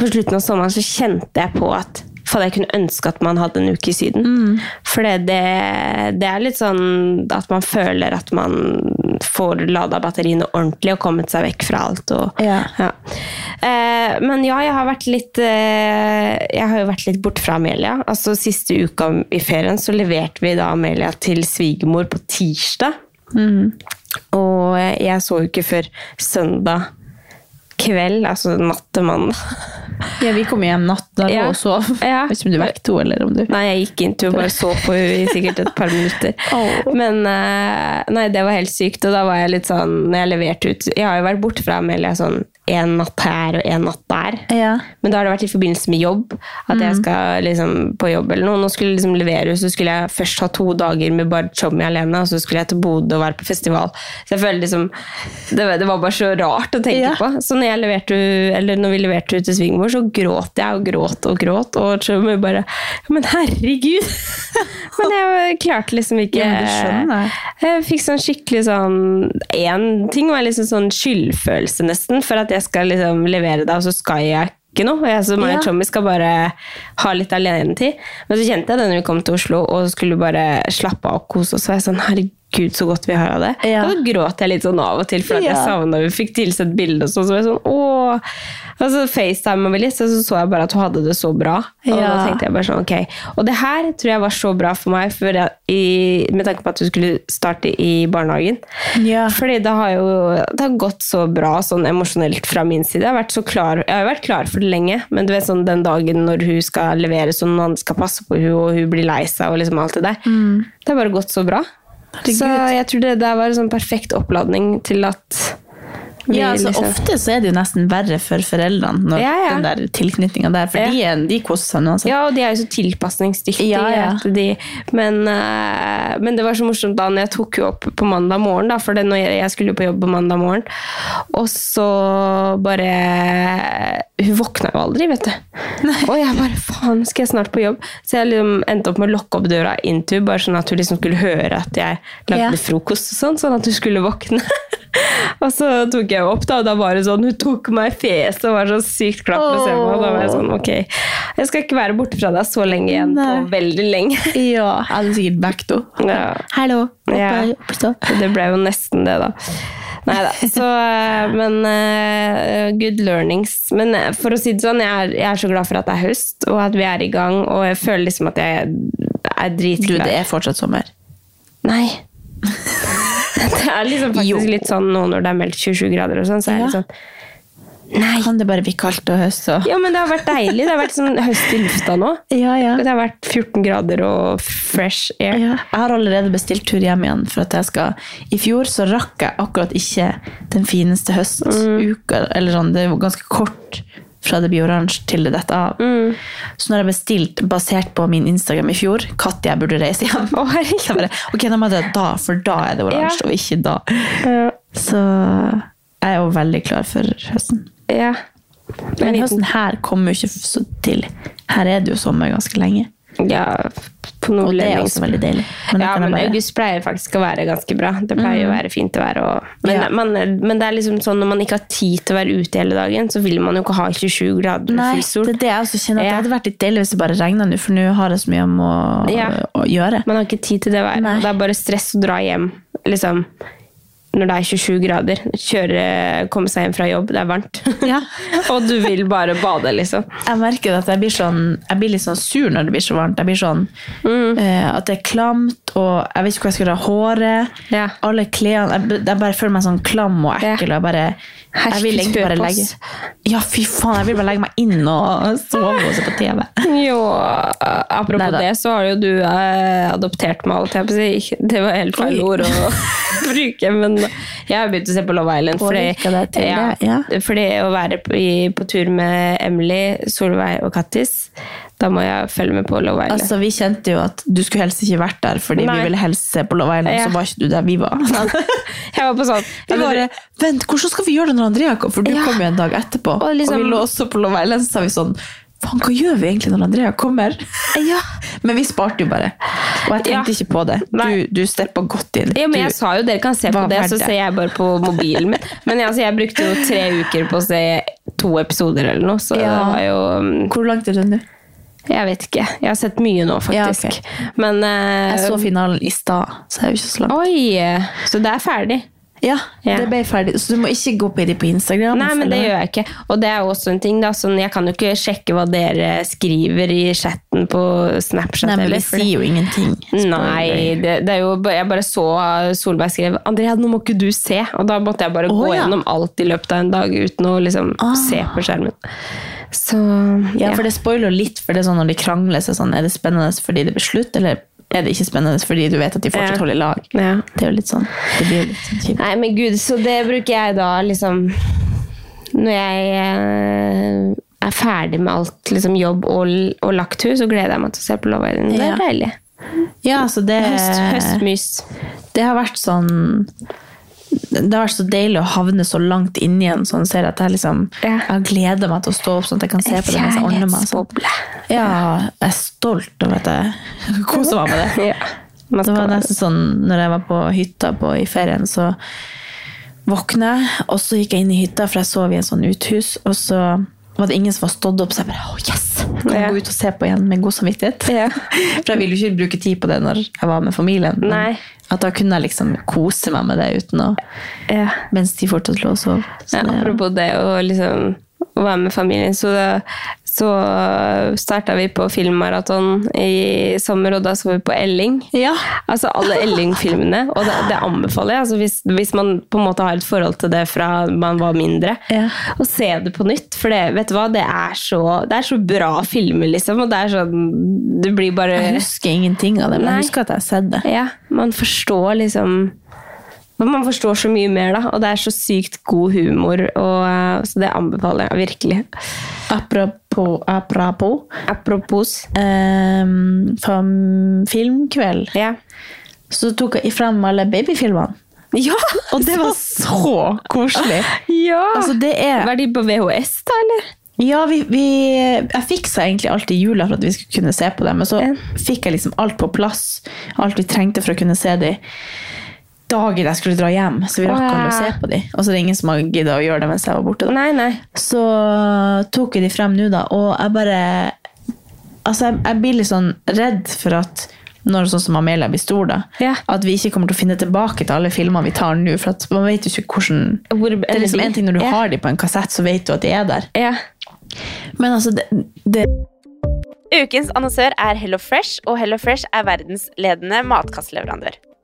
På slutten av sommeren så kjente jeg på at Fader, jeg kunne ønske at man hadde en uke i Syden. For det, det, det er litt sånn at man føler at man får lada batteriene ordentlig og kommet seg vekk fra alt. Og, Ja. Eh, men ja, jeg har vært litt eh, Jeg har jo vært litt bort fra Amelia. Altså Siste uka i ferien så leverte vi da Amelia til svigermor på tirsdag. Mm. Og jeg så jo ikke før søndag kveld, altså natt til mandag. Ja, vi kom hjem natt der Ja. og sov. Ja. Jeg vet ikke om du vekket henne, eller om du Nei, jeg gikk inn til og bare så på henne i sikkert et par minutter. Åh. Men eh, nei, det var helt sykt, og da var jeg litt sånn Når jeg leverte ut Jeg har jo vært borte fra Amelia sånn en natt her og en natt der. Ja. Men da har det vært i forbindelse med jobb. At Mm. jeg skal liksom på jobb eller noe. Nå skulle jeg liksom levere, så skulle jeg først ha to dager med bare Chommy alene, og så skulle jeg til Bodø og være på festival. Så jeg føler liksom Det, var- det var bare så rart å tenke Ja. på. Så når, jeg leverte, eller når vi leverte ut til svigermor, så gråt jeg og gråt og gråt. Og Chommy bare Men herregud! *laughs* Men jeg klarte liksom ikke Ja, men det skjønner jeg. jeg fikk sånn skikkelig sånn Én ting var liksom sånn skyldfølelse, nesten, for at jeg skal liksom levere deg, og så skal jeg ikke noe. Og jeg som Ja. og Tommy skal bare ha litt alenetid. Men så kjente jeg det når vi kom til Oslo og skulle bare slappe av og kose oss. Så var jeg sånn, herregud, så godt vi har av det. Ja. Og så gråt jeg litt sånn av og til, for at jeg Ja. savna Vi fikk tilsett bilde og sånn. Så var jeg sånn, åh. Og så facetima vi litt, og så så jeg bare at hun hadde det så bra. Og da Ja. tenkte jeg jeg bare sånn, ok. Og det her tror jeg var så bra for meg, for jeg, i, med tanke på at du skulle starte i barnehagen. Ja. Fordi det har jo det har gått så bra sånn emosjonelt fra min side. Jeg har, vært så klar, jeg har jo vært klar for det lenge, men du vet sånn den dagen når hun skal leveres, og noen andre skal passe på hun, og hun blir lei seg og liksom alt det der. Mm. Det har bare gått så bra. Så jeg tror det der var en sånn perfekt oppladning til at vi Ja, altså liksom- Ofte så er det jo nesten verre for foreldrene når Ja, ja. den der tilknytninga der, for Ja. de, er- de koser seg altså. uansett. Ja, og de er jo så tilpasningsdyktige. Ja, ja. at De, men, eh, men det var så morsomt da når jeg tok jo opp på mandag morgen, da, for det, når jeg, jeg skulle jo på jobb på mandag morgen, og så bare Hun våkna jo aldri, vet du. Og jeg bare faen, skal jeg snart på jobb? Så jeg liksom endte opp med å lokke opp døra inn til henne, bare sånn at hun liksom skulle høre at jeg lagde Ja. frokost og sånn, sånn at hun skulle våkne. *laughs* Og så tok jeg opp, da, og da var det sånn, hun tok meg i fjeset og var så sykt glad for å se meg. Og da var jeg sånn, ok, jeg skal ikke være borte fra deg så lenge igjen, Nei. og veldig lenge. *laughs* *laughs* Ja, jeg hadde sikkert vekt henne. Ja. Hallo. oppe- Ja. oppe stå. Så Det ble jo nesten det, da. Nei da. Så, eh, men eh, good learnings. Men eh, for å si det sånn, jeg er, jeg er så glad for at det er høst, og at vi er i gang, og jeg føler liksom at jeg er Du, det dritklar. er fortsatt sommer. Nei. *laughs* Det er liksom Jo. faktisk litt sånn nå når det er meldt 27 grader og sånn, så er det Ja. litt sånn Nei. Kan det bare bli kaldt og høst og Ja, men det har vært deilig. Det har vært sånn høst i lufta nå. Ja, ja. Det har vært 14 grader og fresh air. Ja. Jeg har allerede bestilt tur hjem igjen. for at jeg skal... I fjor så rakk jeg akkurat ikke den fineste Mm. høstuka. eller sånn, Det var ganske kort fra det blir oransje til det detter av. Mm. Så når jeg bestilte, basert på min Instagram i fjor, når jeg burde reise hjem Å, herregud. *laughs* Så jeg bare, Ok, da må jeg dra da, for da er det oransje, Ja. og ikke da. Så jeg er jo veldig klar for høsten. Ja. Men Men liten- høsten her kommer jo ikke så til. Her er det jo sommer ganske lenge. ja, på Og det er nordlending. også veldig deilig. ja, da kan jeg men bare- Mm. august pleier faktisk å være ganske bra. Det pleier å være fint å være og, men, Ja. man, men det er liksom sånn når man ikke har tid til å være ute hele dagen, så vil man jo ikke ha 27 grader og Nei, full sol. det er det jeg også kjenner. At Ja. Det hadde vært litt deilig hvis det bare regna nå, for nå har jeg så mye om å, Ja. å gjøre. Man har ikke tid til det været. Nei. Det er bare stress å dra hjem liksom, når det er 27 grader. Kjøre, komme seg hjem fra jobb, det er varmt. Ja. *laughs* og du vil bare bade, liksom. Jeg Mm. merker at jeg blir, sånn, jeg blir litt sånn sur når det blir så varmt. Jeg blir sånn eh, At det er klamt, og jeg vet ikke hvor jeg skal ha håret. Ja. Alle klærne jeg, jeg bare føler meg sånn klam og ekkel. Ja. Og jeg bare, jeg vil egentlig bare Herkespøposs. legge Ja, fy faen, jeg vil bare legge meg inn og sove og se på TV. *laughs* Jo, eh, apropos Neida. det, så har jo du eh, adoptert meg, holdt jeg på å si. *laughs* Ikke- Det var helt feil Oi. ord å *laughs* *laughs* bruke, men jeg har begynt å se på Love Island. Fordi, Påvirket deg til det, ja, ja. fordi å være på, i, på tur med Emily, Solveig og Kattis, da må jeg følge med på Love Island. Altså, Vi kjente jo at du skulle helst ikke vært der, fordi Nei. vi ville helst se på Love Island, Ja. så var ikke du der vi var. *laughs* *laughs* jeg var på sånn Vi ja, men bare, du- vent, hvordan skal vi gjøre det når Andrea kommer? For du Ja. kom jo en dag etterpå. Og Og, liksom- vi lå også på Love Island, så sa vi sånn, faen, hva gjør vi egentlig når Andrea kommer? Ja. *laughs* Men vi sparte jo bare. Og jeg tenkte Ja. ikke på det. Du, Nei. du steppa godt inn. ja, men jeg du, sa jo dere kan se på Hva det, var så det? ser jeg bare på mobilen min. Men altså, jeg brukte jo tre uker på å se to episoder eller noe, så det Ja. var jo mm, hvor langt er det nå? Jeg vet ikke. Jeg har sett mye nå, faktisk. Ja, Men eh, Jeg så finalen i stad, så jeg er jo ikke så langt. Oi! Så det er ferdig. Ja, Ja. det ble ferdig. Så du må ikke gå på det på Instagram. Nei, og men det følge gjør jeg ikke. Og det er jo også en ting, da. Sånn, jeg kan jo ikke sjekke hva dere skriver i chatten på Snapchat. Nei, men vi eller, fordi- sier jo ingenting. Nei, det, det er jo, ba- jeg bare så Solberg skrev 'Andrea, nå må ikke du se'. Og da måtte jeg bare gå Å, ja. Ah. gjennom alt i løpet av en dag uten å liksom se på skjermen. Så Ja, for det spoiler jo litt, for det er sånn når de krangler, så er det sånn, er det spennende fordi det blir slutt, eller er det ikke spennende fordi du vet at de fortsatt Ja. holder i lag? Ja. Det er jo litt sånn, det blir jo litt sånn kjipt. Nei, men gud, så det bruker jeg da liksom Når jeg eh, er ferdig med alt, liksom jobb og, og lagt hus, så gleder jeg meg til å se på Love Island. Det Ja. Eh, er deilig. Ja, så det, Høst, høstmys. det har vært sånn, det har vært så deilig å havne så langt inn i en sånn serie at jeg liksom, Ja. jeg gleder meg til å stå opp sånn at jeg kan se på det mens jeg ordner meg. og Sånn. Ja, jeg er stolt over at jeg koser meg med det. *laughs* Ja. Man Det skal var være- nesten sånn, når jeg var på hytta på, i ferien, så våkna jeg, og så gikk jeg inn i hytta, for jeg sov i en sånn uthus, og så var det ingen som var stått opp, så jeg bare, åh, yes! Jeg kan Ja. gå ut og se på igjen med god samvittighet. Ja. *laughs* For jeg ville jo ikke bruke tid på det når jeg var med familien. men Nei. At da kunne jeg liksom kose meg med det uten å... Ja. Mens de fortsatt lå og sov. Så Ja, Sånn det- apropos det å liksom å være med familien, så, da- så starta vi på filmmaraton i sommer, og da så vi på Elling. Ja. Altså alle Elling-filmene, og det, det anbefaler jeg. Altså, hvis, hvis man på en måte har et forhold til det fra man var mindre, Ja. å se det på nytt. For det, vet du hva, det er så, det er så bra filmer, liksom. Og det er sånn Du blir bare Jeg husker ingenting av det, men Nei. jeg husker at jeg har sett det. ja, man forstår liksom Man forstår så mye mer, da. Og det er så sykt god humor, og, eh, så det anbefaler jeg virkelig. Apropos, apropos Apropos ehm, fam- filmkveld, Ja! så tok jeg frem alle babyfilmene. ja! Og det var så koselig. ja. Altså, det er Var Ah, de på VHS, da, eller? Ja, vi, vi Jeg fiksa egentlig alt i jula for at vi skulle kunne se på det, men så Ja. fikk jeg liksom alt på plass. Alt vi trengte for å kunne se de dagen jeg skulle dra hjem, så vi Å, rakk ja. aldri å se på de. Og så er det ingen som har gidda å gjøre det mens jeg var borte. da. Nei, nei. Så tok jeg de frem nå, da, og jeg bare Altså, jeg, jeg blir litt sånn redd for at når sånn som Amelia blir stor, da, Ja. at vi ikke kommer til å finne tilbake til alle filmene vi tar nå. For at man vet jo ikke hvordan Hvor- Det er liksom eller de. en ting når du Ja. har de på en kassett, så vet du at de er der. Ja. Men altså, det, det Ukens annonsør er Hello Fresh, og Hello Fresh er verdensledende matkastleverandør.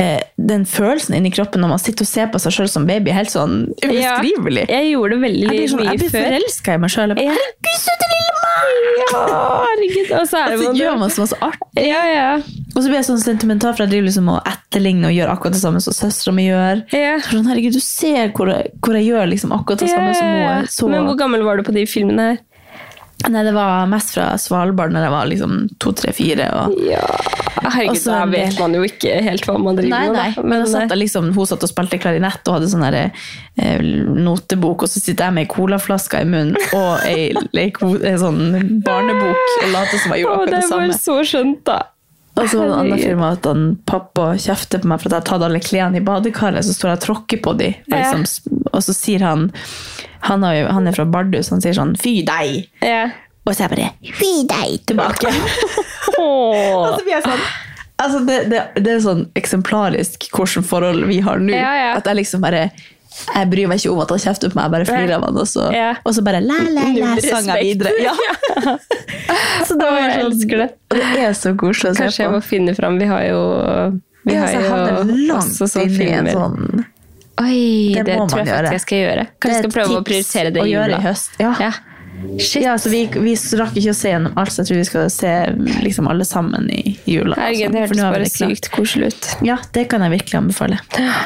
Eh, Den følelsen inni kroppen når man sitter og ser på seg sjøl som baby, er helt sånn ubeskrivelig. Ja, jeg gjorde det veldig Jeg blir, sånn, mye jeg blir før. forelska i meg sjøl. Ja. Herregud, søte lille meg! Ja, herregud. Og så er Og det så man- gjør man så masse artig. Ja, ja. Og så blir jeg sånn sentimental, for jeg driver liksom og etterligner og gjør akkurat det samme som søstera mi gjør. Så Sånn, herregud, du ser hvor jeg, hvor jeg gjør liksom akkurat det samme som hun. Ja, ja. er Så... Men hvor gammel var du på de filmene her? Nei, det var mest fra Svalbard når jeg var liksom to, tre, fire. Og... Og Herregud, så da en vet del- man jo ikke helt hva man driver Altså, Nei, med. da. nei. Men Men, eh, da satt jeg liksom, hun satt og spilte klarinett og hadde sånn der, eh, notebok, og så sitter jeg med ei colaflaske i munnen og ei, *laughs* leiko- ei sånn barnebok og later som jeg gjorde Å, akkurat det det var samme. så skjønt, da. Og så var det en annen Herregud. film at han, pappa kjefter på meg for at jeg har tatt alle klærne i badekaret, så står jeg og tråkker på dem. Og, Ja. liksom, og så sier han han, har jo, han er fra Bardu, så han sier sånn 'fy deg'. *laughs* Og så er jeg bare 'fy deg' tilbake. Altså, og så blir jeg sånn altså det, det, det er sånn eksemplarisk hvordan forhold vi har nå. Ja, ja. At jeg liksom bare jeg bryr meg ikke om at han kjefter på meg, jeg bare flirer av han, og så, og så bare la, la, la, Null sang jeg respekt. videre. Ja. så *laughs* da Å, var jeg jeg elsker det. Og det er så koselig å se Kanskje jeg på. må finne fram. Vi har jo vi Ja, har så jo havner det langt også sånne inn i en filmer. sånn- Oi, Det det, må tror man jeg gjøre. faktisk jeg skal gjøre. Kanskje jeg skal prøve å prioritere det å i gjøre jula. i høst. Ja. Ja, så vi, vi rakk ikke å se gjennom alt, så jeg tror vi skal se liksom, alle sammen i jula. Herregud, altså. det For hørtes nå er vi bare det klart. sykt koselig ut. Ja, det kan jeg virkelig anbefale.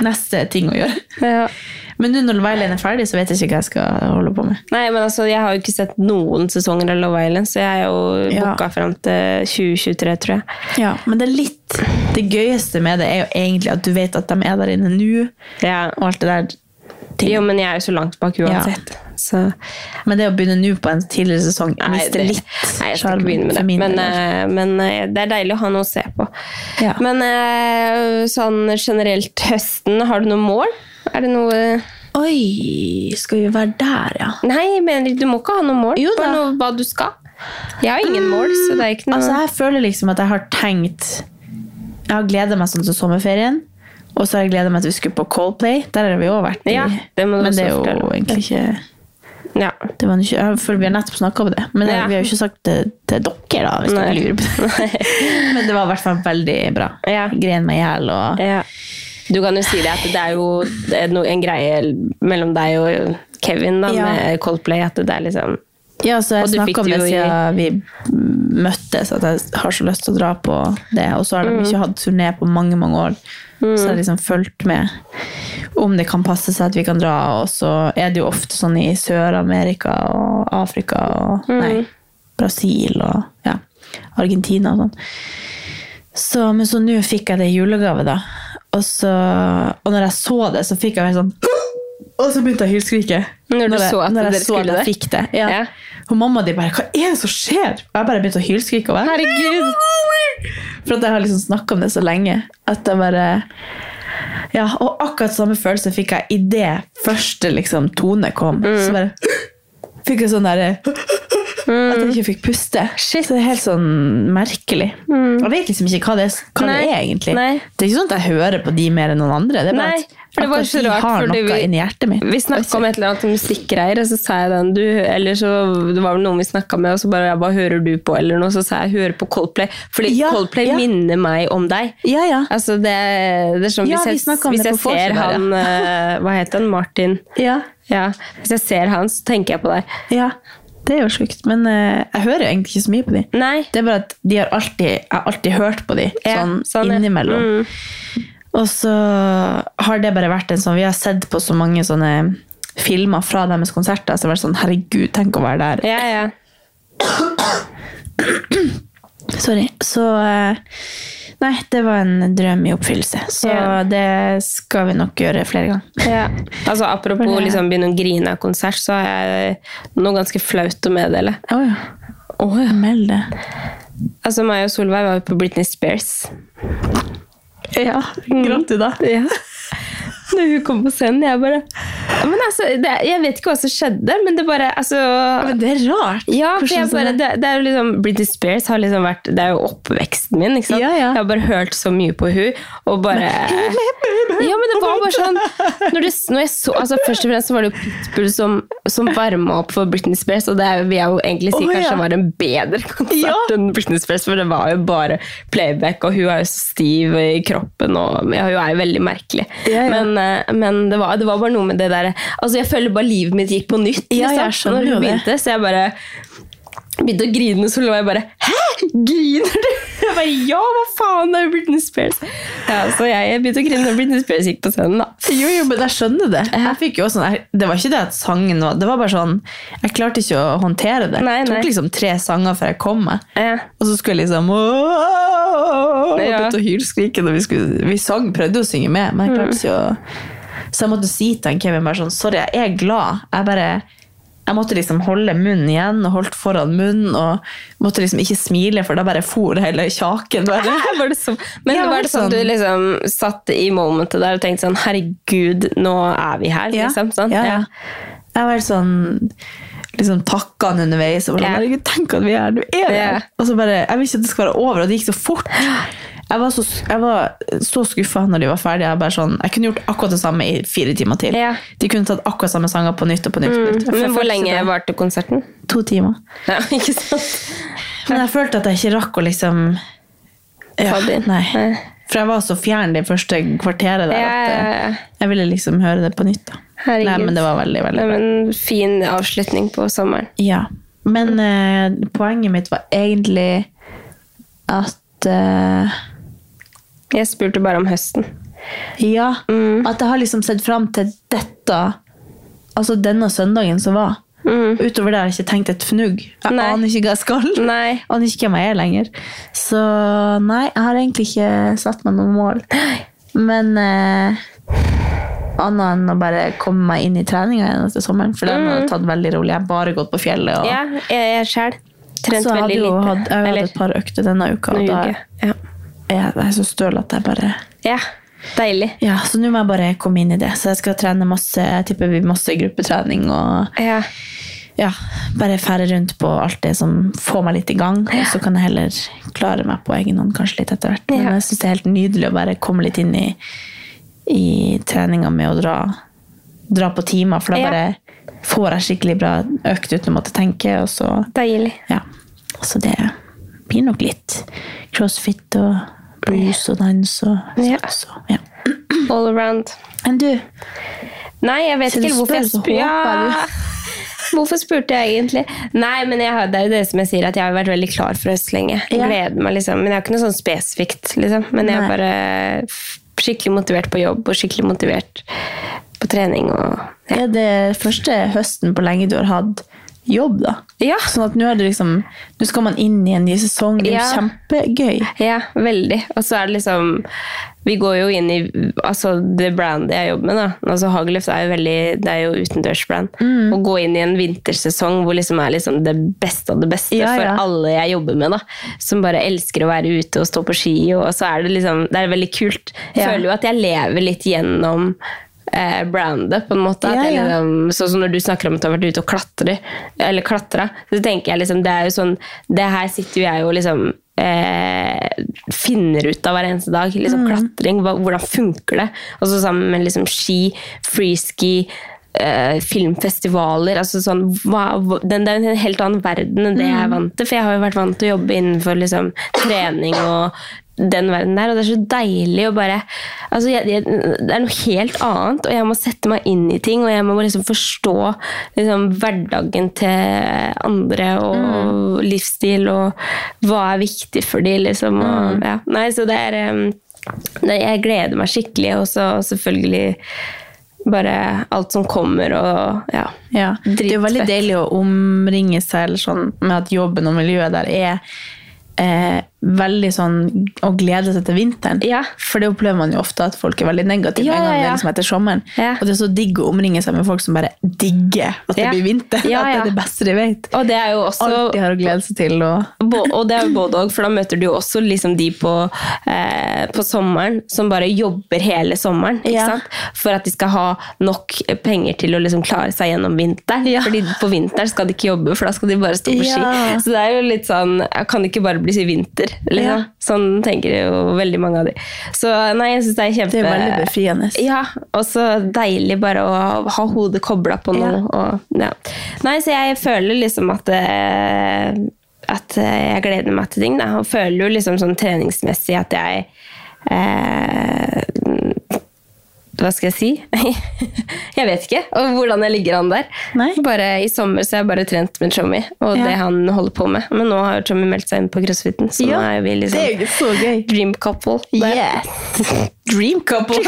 Neste ting å gjøre. Men nå når Love Island er ferdig, så vet jeg ikke hva jeg skal holde på med. Nei, men altså, Jeg har jo ikke sett noen sesonger av Love Island, så jeg er jo Ja. booka fram til 2023, tror jeg. Ja, men det er litt Det gøyeste med det er jo egentlig at du vet at de er der inne nå, og alt det der. Jo, men jeg er jo så langt bak uansett. Men det å begynne nå på en tidligere sesong Nei, mister det- litt Nei, jeg skal ikke begynne med det. min Men, del. eh, men eh, det er deilig å ha noe å se på. Ja. Men eh, sånn generelt høsten, har du noe mål? Er det noe Oi, skal vi være der, ja? Nei, jeg mener, du må ikke ha noe mål. Jo Bare da. noe hva du skal. Jeg har ingen mål, så det er ikke noe Altså, jeg føler liksom at jeg har tenkt Jeg har gledet meg sånn til sommerferien. Og så har jeg gledet meg til vi skulle på Coldplay. Der har vi òg vært. i- Ja, det må du men også det er jo fortelle. egentlig ikke Ja. det var ikke, jeg føler Vi har nettopp snakka om det, men eh, Ja. vi har jo ikke sagt det til dere. da, hvis Nei. dere lurer *laughs* på det. *laughs* Men det var i hvert fall veldig bra. Gren meg i hjel og Ja. Du kan jo si det at det er jo det er no, en greie mellom deg og Kevin da, Ja. med Coldplay. At det er liksom Ja, så jeg Og du fikk snakka om det det jo i- siden vi møttes, at jeg har så lyst til å dra på det. Og så har de Mm. ikke hatt turné på mange, mange år. Mm. Så jeg har liksom fulgt med om det kan passe seg at vi kan dra. Og så er det jo ofte sånn i Sør-Amerika og Afrika og Mm. nei, Brasil og ja, Argentina og sånn. Så, men så nå fikk jeg det i julegave, da. Og, så, og når jeg så det, så fikk jeg helt sånn *gasps* Og så begynte jeg å hylskrike. Når du jeg- så at når jeg dere så at skulle jeg det? fikk det. Ja. Og mamma og de bare 'Hva er det som skjer?' Og jeg bare begynte å hylskrike. og jeg- For at jeg har liksom snakka om det så lenge. At jeg bare Ja, Og akkurat samme følelse fikk jeg idet første liksom, tone kom. Mm. Så bare fikk jeg sånn derre Mm. At jeg ikke fikk puste. Så det er helt sånn merkelig. Jeg vet liksom ikke hva det, er- hva det Mm. Nei. er, egentlig. Nei. Det er ikke sånn at jeg hører på de mer enn noen andre. Det er bare Nei, at for det var akkurat så de rart, har fordi noe vi- inni hjertet mitt. Vi snakka om et eller annet om musikkgreier, og så sa jeg den du, eller så Det var vel noen vi snakka med, og så bare jeg, 'Hva hører du på?' eller noe, så sa jeg 'Hører på Coldplay'. Fordi Coldplay minner meg om deg. Altså, det, det er sånn, Ja, vi Hvis jeg, snakket om hvis det jeg på ser Forsen der, han *laughs* eh, Hva heter han? Martin? Ja. Hvis jeg ser han, så tenker jeg på deg. Ja, det er jo sjukt. Men eh, jeg hører jo egentlig ikke så mye på dem. Det er bare at de har alltid, jeg har alltid hørt på dem, sånn, Mm. innimellom. Og så har det bare vært en sånn Vi har sett på så mange sånne filmer fra deres konserter. Så jeg var sånn, herregud, tenk å være der. Sorry. Så eh, Nei, det var en drøm i oppfyllelse. Så det skal vi nok gjøre flere ganger. Ja. Altså, apropos liksom, begynne å grine av konsert, så har jeg noe ganske flaut å meddele. Å ja. Meld det. Altså, meg og Solveig var jo på Britney Spears. Ja. Gråt du da? Ja. *laughs* Når hun kom på scenen, jeg bare men altså, det, Jeg vet ikke hva som skjedde, men det bare altså, Men det er rart. Ja, for Hvordan jeg sånn bare, er- det, det er jo liksom, Britney Spears har liksom vært Det er jo oppveksten min. ikke sant? Jeg har bare hørt så mye på hun, og bare Ja, men det var bare sånn når du, når jeg så, altså, Først og fremst så var det jo Pitbull som, som varma opp for Britney Spears, og det er, jo- vil jeg jo egentlig si Å, ja. kanskje var en bedre konsert enn Britney Spears, for det var jo bare playback, og hun er jo så stiv i kroppen, og ja, hun er jo veldig merkelig. Men, eh, men det, var, det var bare noe med det der Altså, jeg føler bare livet mitt gikk på nytt Ja, liksom, jeg skjønner når hun jo det. begynte, så jeg bare begynte å grine, så lå jeg bare Hæ, griner du? *laughs* Jeg bare, ja, hva faen, det er jo Britney Spears. Ja, så jeg begynte å grine når Britney Spears gikk på scenen, da. Jo, jo, men jeg skjønner det. Jeg fikk jo også sånn, jeg, det var ikke det at sangen var Det var bare sånn Jeg klarte ikke å håndtere det. Nei, jeg tok nei. liksom tre sanger før jeg kom meg. Ja. Og så skulle jeg liksom åh, Ja. og begynte å hylskrike. når Vi, skulle, vi sang, prøvde å synge med, men jeg klarte ikke å Så jeg måtte si til han Kevin bare sånn Sorry, jeg er glad. Jeg bare jeg måtte liksom holde munnen igjen og holdt foran munnen og måtte liksom ikke smile, for da bare for hele kjaken. Bare. Var det sånn? Men Ja, var det sånn at du liksom satt i momentet der og tenkte sånn Herregud, nå er vi her, Ja. liksom? Sånn? Ja, ja. Jeg var helt sånn liksom takka han underveis. Og bare, sånn, Herregud, tenk at vi er her! Du er her! Ja. Og så bare, Jeg vil ikke at det skal være over, og det gikk så fort. Jeg var så, jeg var så skuffa når de var ferdige. Jeg, bare sånn, jeg kunne gjort akkurat det samme i fire timer til. Ja. De kunne tatt akkurat samme sanger på nytt og på nytt. på Mm. nytt. Jeg Men følte hvor ikke lenge det. varte konserten? *laughs* To timer. Ja, ikke sant? Men jeg følte at jeg ikke rakk å liksom Ta det inn. Nei. For jeg var så fjern det første kvarteret der Ja, at ja, ja. eh, jeg ville liksom høre det på nytt. da. Herregud. Nei, men det var veldig, veldig Nei, bra. men Fin avslutning på sommeren. Ja, men eh, poenget mitt var egentlig at eh, Jeg spurte bare om høsten. Ja, Mm. at jeg har liksom sett fram til dette, altså denne søndagen som var. Utover det har jeg ikke tenkt et fnugg. Jeg Mm. Nei. aner ikke hva jeg skal. Nei. *laughs* Aner ikke hvem jeg er lenger. Så nei, jeg har egentlig ikke satt meg noen mål. Men eh, annet enn å bare komme meg inn i treninga igjen etter sommeren. For den har jeg tatt veldig rolig. Jeg har bare gått på fjellet. Og, Mm. Ja, jeg, jeg sjæl. Trent så jeg hadde veldig jo lite. hatt, jeg hadde Eller hatt et par økter denne uka. noen Og da uker. Ja. er jeg, jeg er så støl at jeg bare ja. Deilig. Ja, så nå må jeg bare komme inn i det. Så jeg skal trene masse, jeg tipper vi masse gruppetrening og Ja. ja, bare fære rundt på alt det som får meg litt i gang. Og så kan jeg heller klare meg på egen hånd kanskje litt etter hvert. Men Ja. jeg syns det er helt nydelig å bare komme litt inn i, i treninga med å dra, dra på timer, for da Ja. bare får jeg skikkelig bra økt uten å måtte tenke, og så Deilig. ja. Så det blir nok litt crossfit og blues og dans og Ja. sånn. Så, ja. All around. Enn du? Nei, jeg vet Så du ikke hvorfor jeg spør, spurte. så håper Ja. *laughs* Hvorfor spurte jeg egentlig? Nei, men jeg har, Det er jo det som jeg sier, at jeg har vært veldig klar for høst lenge. Jeg Ja. Gleder meg, liksom. Men jeg har ikke noe sånn spesifikt. liksom. Men jeg Nei. er bare f- skikkelig motivert på jobb og skikkelig motivert på trening. og... Er det første høsten på lenge du har hatt jobb, da? Ja. Sånn at nå er det liksom Nå skal man inn i en ny sesong. Det er Ja. jo kjempegøy. Ja, veldig. Og så er det liksom Vi går jo inn i altså det brandet jeg jobber med. da. Altså Hageløft er jo veldig, det er jo utendørsbrand. Mm. Å gå inn i en vintersesong hvor liksom er liksom det beste av det beste Ja, ja. for alle jeg jobber med. da. Som bare elsker å være ute og stå på ski. Og så er det liksom, det er veldig kult. Jeg Ja. føler jo at jeg lever litt gjennom eh, brandet, på en måte. At Ja, jeg ja. liksom Um, Sånn som når du snakker om at du har vært ute og klatre, eller klatra, så tenker jeg liksom, det er jo sånn, det her sitter jo jeg og liksom eh, finner ut av hver eneste dag. Liksom Mm. klatring, hva, hvordan funker det? Og så sammen med liksom ski, freeski, eh, filmfestivaler, altså sånn, hva, hva- den, det er jo en helt annen verden enn det Mm. jeg er vant til, for jeg har jo vært vant til å jobbe innenfor liksom trening og den verden der, og det er så deilig å bare altså jeg, jeg, Det er noe helt annet, og jeg må sette meg inn i ting, og jeg må liksom forstå liksom, hverdagen til andre, og Mm. livsstil, og hva er viktig for de, liksom. Og, Mm. ja. Nei, så det er em, det, Jeg gleder meg skikkelig, og så selvfølgelig bare alt som kommer og ja. Ja. Det er jo veldig deilig å omringe seg eller sånn, med at jobben og miljøet der er eh, veldig sånn å glede seg til vinteren. For det opplever man jo ofte at folk er veldig negative Ja, en gang ja, det ja. liksom heter sommeren. Og det er så digg å omringe seg med folk som bare digger at det Ja. blir vinter. Ja, At det ja. er det beste de vet. Og det er jo også Alt de har å glede seg til. Og Bå- Og det er jo både òg, for da møter du jo også liksom de på, eh, på sommeren som bare jobber hele sommeren. Ikke Ja. sant? For at de skal ha nok penger til å liksom klare seg gjennom vinteren. Fordi på vinteren skal de ikke jobbe, for da skal de bare stå på Ja. ski. Så det er jo litt sånn ja, Kan det ikke bare bli vinter? Liksom. Ja. Sånn tenker jo veldig mange av de. Så nei, jeg syns det er kjempe Det er veldig befriende. Eh, Ja, og så deilig bare å ha hodet kobla på noe. Og, ja. Nei, så jeg føler liksom at eh, at eh, jeg gleder meg til ting. Da. Og føler jo liksom sånn treningsmessig at jeg eh, Hva skal jeg si? *laughs* jeg vet ikke og hvordan jeg ligger an der. Bare I sommer så har jeg bare trent med Tommy og Ja. det han holder på med. Men nå har jo Tommy meldt seg inn på crossfiten, så nå er jo vi liksom Det er jo så gøy. dream couple. der. Dream couple.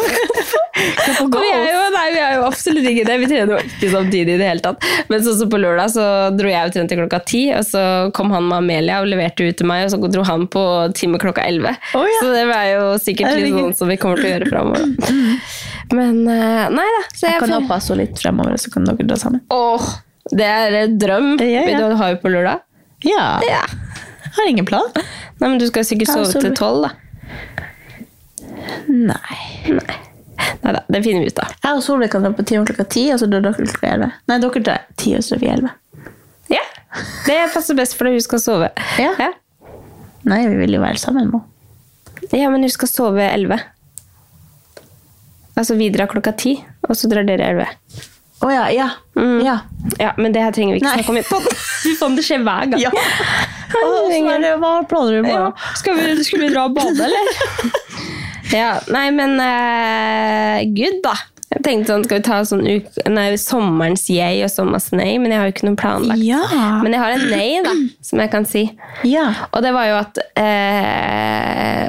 Og vi er, jo, nei, vi er jo absolutt ikke det. Vi trener jo ikke samtidig i det hele tatt. Men sånn som på lørdag så dro jeg og trente klokka ti, og så kom han med Amelia og leverte ut til meg, og så dro han på time klokka elleve. Så det var jo sikkert litt Herregud. sånn som vi kommer til å gjøre framover. Men eh, nei da. Så Jeg kan føler- håpe jeg så litt fremover, så kan dere dra sammen. Åh, det er en drøm. ja. Vil du ha jo på lørdag? Ja. Ja. Har ingen plan. Nei, men du skal sikkert Ja, sove så til blir- tolv, da. Nei. Nei da, det finner vi ut av. Jeg og Solveig kan dra på time klokka ti, og så drar dere klokka elleve. Nei, dere drar ti, og så drar vi elleve. Ja, det passer best for deg. Hun skal sove. Ja. ja. Nei, vi vil jo være sammen nå. Ja, men hun skal sove 11. Altså, vi drar klokka 10, og så drar dere 11. Å ja, ja. ja. Ja, men det her trenger vi ikke snakke om i podden. Fy faen, *laughs* det skjer hver gang. *laughs* Ja. hva planer du med? Ja. Skal, vi, skal vi dra og bade, eller? *laughs* ja, nei, men eh, gud, da. Jeg tenkte sånn, skal vi ta sånn uk nei, sommerens jeg og sommerens nei, men jeg har jo ikke noe planlagt. Ja. Men jeg har en nei, da, som jeg kan si. Ja. Og det var jo at eh,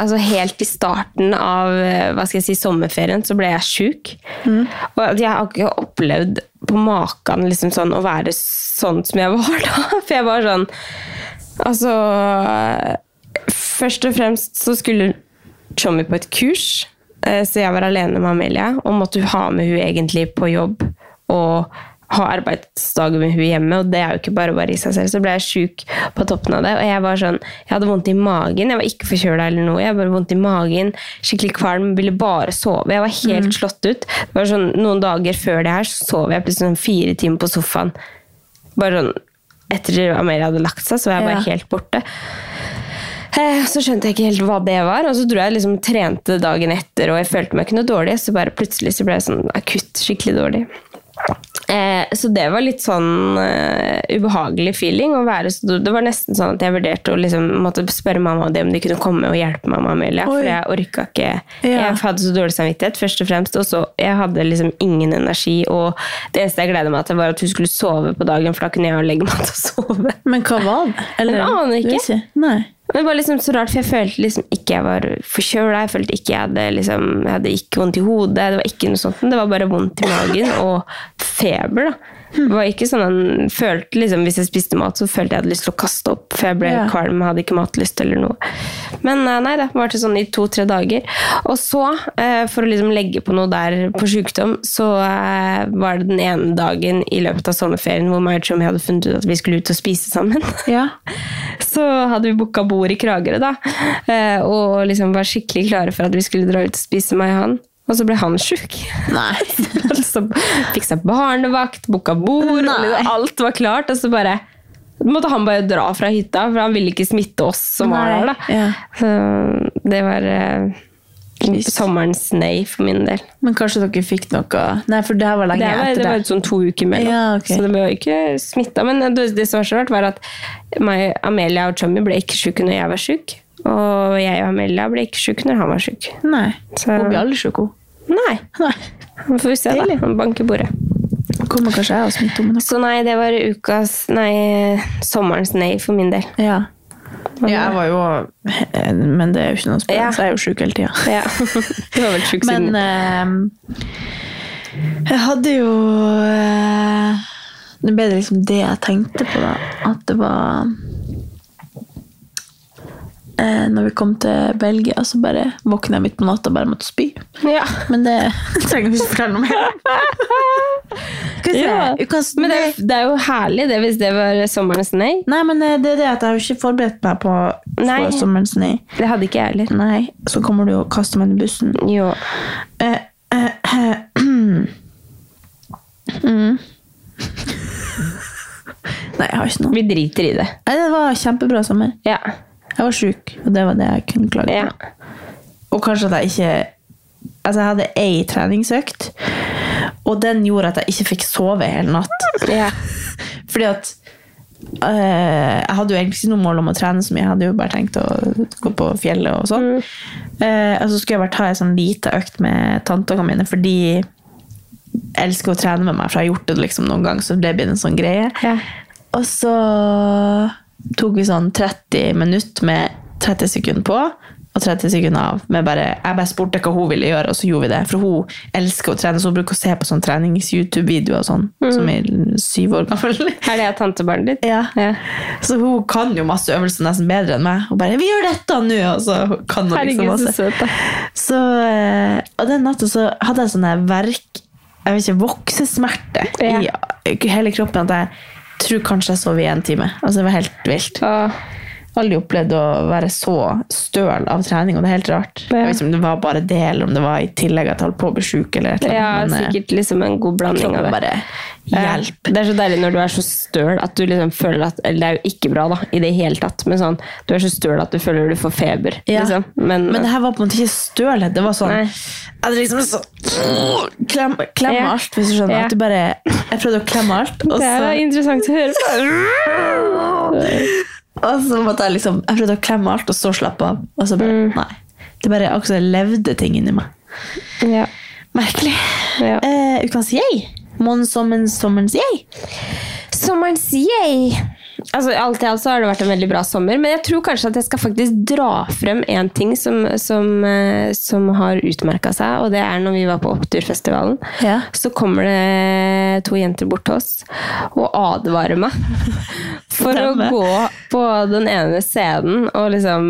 altså Helt i starten av eh, hva skal jeg si, sommerferien så ble jeg sjuk. Mm. Og at jeg har ikke opplevd på maken liksom sånn, å være sånn som jeg var *laughs* da. For jeg var sånn Altså Først og fremst så skulle Tommy på et kurs, eh, så jeg var alene med Amelia og måtte ha med hun egentlig på jobb. og ha arbeidsdager med hun hjemme, og det er jo ikke bare bare i seg selv. Så ble jeg sjuk på toppen av det, og jeg var sånn, jeg hadde vondt i magen. Jeg var ikke forkjøla eller noe, jeg hadde bare vondt i magen, skikkelig kvalm, ville bare sove. Jeg var helt slått ut. Det var sånn, Noen dager før det her så sov jeg plutselig sånn fire timer på sofaen. Bare sånn, Etter Amelia hadde lagt seg, så var jeg bare Ja. helt borte. Eh, Så skjønte jeg ikke helt hva det var, og så dro jeg liksom og trente dagen etter, og jeg følte meg ikke noe dårlig, så bare plutselig så ble jeg sånn akutt skikkelig dårlig. Eh, Så det var litt sånn eh, ubehagelig feeling. Å være, så- det var nesten sånn at jeg vurderte å liksom, måtte spørre mamma og de om de kunne komme og hjelpe meg med Amelia. For Oi. jeg orka ikke. Ja. Jeg hadde så dårlig samvittighet, først og fremst. Og så jeg hadde liksom ingen energi. Og det eneste jeg gleda meg til, var at hun skulle sove på dagen, for da kunne jeg jo legge meg til å sove. Men hva var det? Jeg aner ikke. vil si. Nei. Men Det var liksom så rart, for jeg følte liksom ikke jeg var forkjøla. Jeg følte ikke jeg hadde, liksom, jeg hadde ikke vondt i hodet. Det var ikke noe sånt, men det var bare vondt i magen og feber. da. Det var ikke sånn, en- følte liksom, Hvis jeg spiste mat, så følte jeg jeg hadde lyst til å kaste opp. For jeg ble Ja. kvalm og hadde ikke matlyst eller noe. Men eh, nei, det varte sånn i to-tre dager. Og så, eh, for å liksom legge på noe der på sykdom, så eh, var det den ene dagen i løpet av sommerferien hvor meg og Tommy hadde funnet ut at vi skulle ut og spise sammen *laughs* Ja. så hadde vi booka bord i Kragerø, da. Eh, og liksom var skikkelig klare for at vi skulle dra ut og spise, meg og han. Og så ble han sjuk. *laughs* så fikk seg barnevakt, booka bord, og liksom alt var klart. Og så bare måtte han bare dra fra hytta, for han ville ikke smitte oss som var Nei. der. da. Ja. Så det var eh, sommerens nei for min del. Men kanskje dere fikk noe Nei, for det her var lenge Det var, det etter var ut sånn to uker mellom. Ja, ok. Så det ble jo ikke smitta. Men det, det som var så rart, var at meg, Amelia og Tommy ble ikke sjuke når jeg var sjuk. Og jeg og Amelia ble ikke sjuke når han var sjuk. Nei. Så- Hun blir aldri sjuk, hun. Nei. Nei. Vi får se, da. Han banker bordet. Kommer kanskje jeg og smitter om noe. Så nei, det var ukas Nei, sommerens nei for min del. Ja. jeg var jo *laughs* Men det er jo ikke noe spørsmål, Ja. *laughs* så jeg er jo sjuk hele tida. Ja. Du var vel sjuk siden Men eh, ehm, Jeg hadde jo eh, Det ble det liksom det jeg tenkte på, da. At det var eh, Når vi kom til Belgia, så bare våkna jeg midt på natta og bare måtte spy. Men det *laughs* trenger vi ikke fortelle noe *laughs* mer Skal vi se. Ja. Ukas Men det, er- det er jo herlig det hvis det var sommerens nei. Nei, men eh, det er det at jeg har jo ikke forberedt meg på, på Nei. sommerens nei. Det hadde ikke jeg heller. Nei, så kommer du og kaster meg under bussen. Jo. Eh, eh, eh, mm. Nei, jeg har ikke noe. Vi driter i det. Nei, det var kjempebra sommer. Ja. Jeg var sjuk, og det var det jeg kunne klage på. Og kanskje at jeg ikke Altså, jeg hadde ei treningsøkt, og den gjorde at jeg ikke fikk sove hele natt. *laughs* Fordi at eh, Jeg hadde jo egentlig ikke noe mål om å trene så mye, jeg hadde jo bare tenkt å gå på fjellet og sånn. Eh, og så skulle jeg bare ta ei sånn lita økt med tantene mine, fordi jeg elsker å trene med meg, for jeg har gjort det liksom noen gang, så det blir en sånn greie. Og så tok vi sånn 30 minutter med 30 sekunder på og 30 sekunder av. Med bare, jeg bare spurte hva hun ville gjøre, og så gjorde vi det. For hun elsker å trene, så hun bruker å se på sånn trenings-YouTube-videoer og sånn, Mm. som er syv år *laughs* gammel. Er det tantebarnet ditt? Ja. Så hun kan jo masse øvelser nesten bedre enn meg. Hun bare 'Vi gjør dette nå!' Og så kan hun liksom Herregud, så masse. søt, da. Så, eh, og den natta så hadde jeg sånne verk Jeg vet ikke, voksesmerter i hele kroppen. At jeg tror kanskje jeg sov i en time. Altså Det var helt vilt. Aldri opplevd å være så støl av trening, og det er helt rart. Jeg vet ikke om det var bare det, eller om det var i tillegg at jeg holdt på å bli sjuk. Eller et eller Ja, annet, men, eh, sikkert liksom en god blanding av det. kroppen bare hjelp. Ja, Eh, Det er så deilig når du er så støl at du liksom føler at Eller det er jo ikke bra, da, i det hele tatt, men sånn Du er så støl at du føler du får feber, Ja. liksom. Men, Men det her var på en måte ikke stølhet. Det var sånn Nei. Jeg hadde liksom sånn Klem, klem Ja. alt, hvis du skjønner. Ja. At du bare Jeg prøvde å klemme alt, og eh, det er så interessant å høre på. Og så måtte jeg liksom Jeg prøvde å klemme alt, og så slappe av. Og så bare Mm. Nei. Det bare akkurat som jeg levde ting inni meg. *laughs* Ja. Merkelig. Ja. Eh, Ukens jeg. Månsommens sommerens jeg. Sommerens yay! Altså, alt i alt så har det vært en veldig bra sommer, men jeg tror kanskje at jeg skal faktisk dra frem en ting som, som, eh, som har utmerka seg, og det er når vi var på Oppturfestivalen. Så kommer det to jenter bort til oss og advarer meg for å Stemmer. gå på den ene scenen og liksom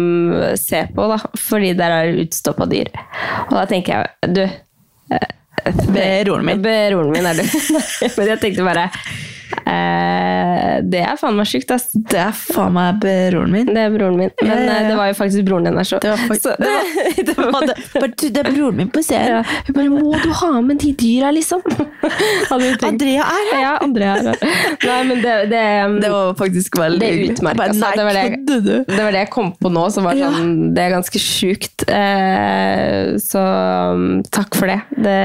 se på, da, fordi der er det utstoppa dyr. Og da tenker jeg, du eh, Broren min. Broren min er du. *laughs* Men jeg tenkte bare eh, Det er faen meg sjukt, ass. Det er faen meg broren min. Det er broren min. Men Ja, ja, ja. eh, det var jo faktisk broren din der, så. Det var fakt- så det *laughs* var- det var- bare, du, det er broren min på scenen. Hun bare 'Må du ha med de dyra, liksom?' *laughs* Hadde hun tenkt. Andrea er her! Ja, Andrea. er her. Nei, men det, det, Det var faktisk veldig det hyggelig. utmerka Bare, seg. Nei, Det var det- kødder du? det var det jeg kom på nå, som var Ja. sånn Det er ganske sjukt. Eh, så mm, takk for det. Det,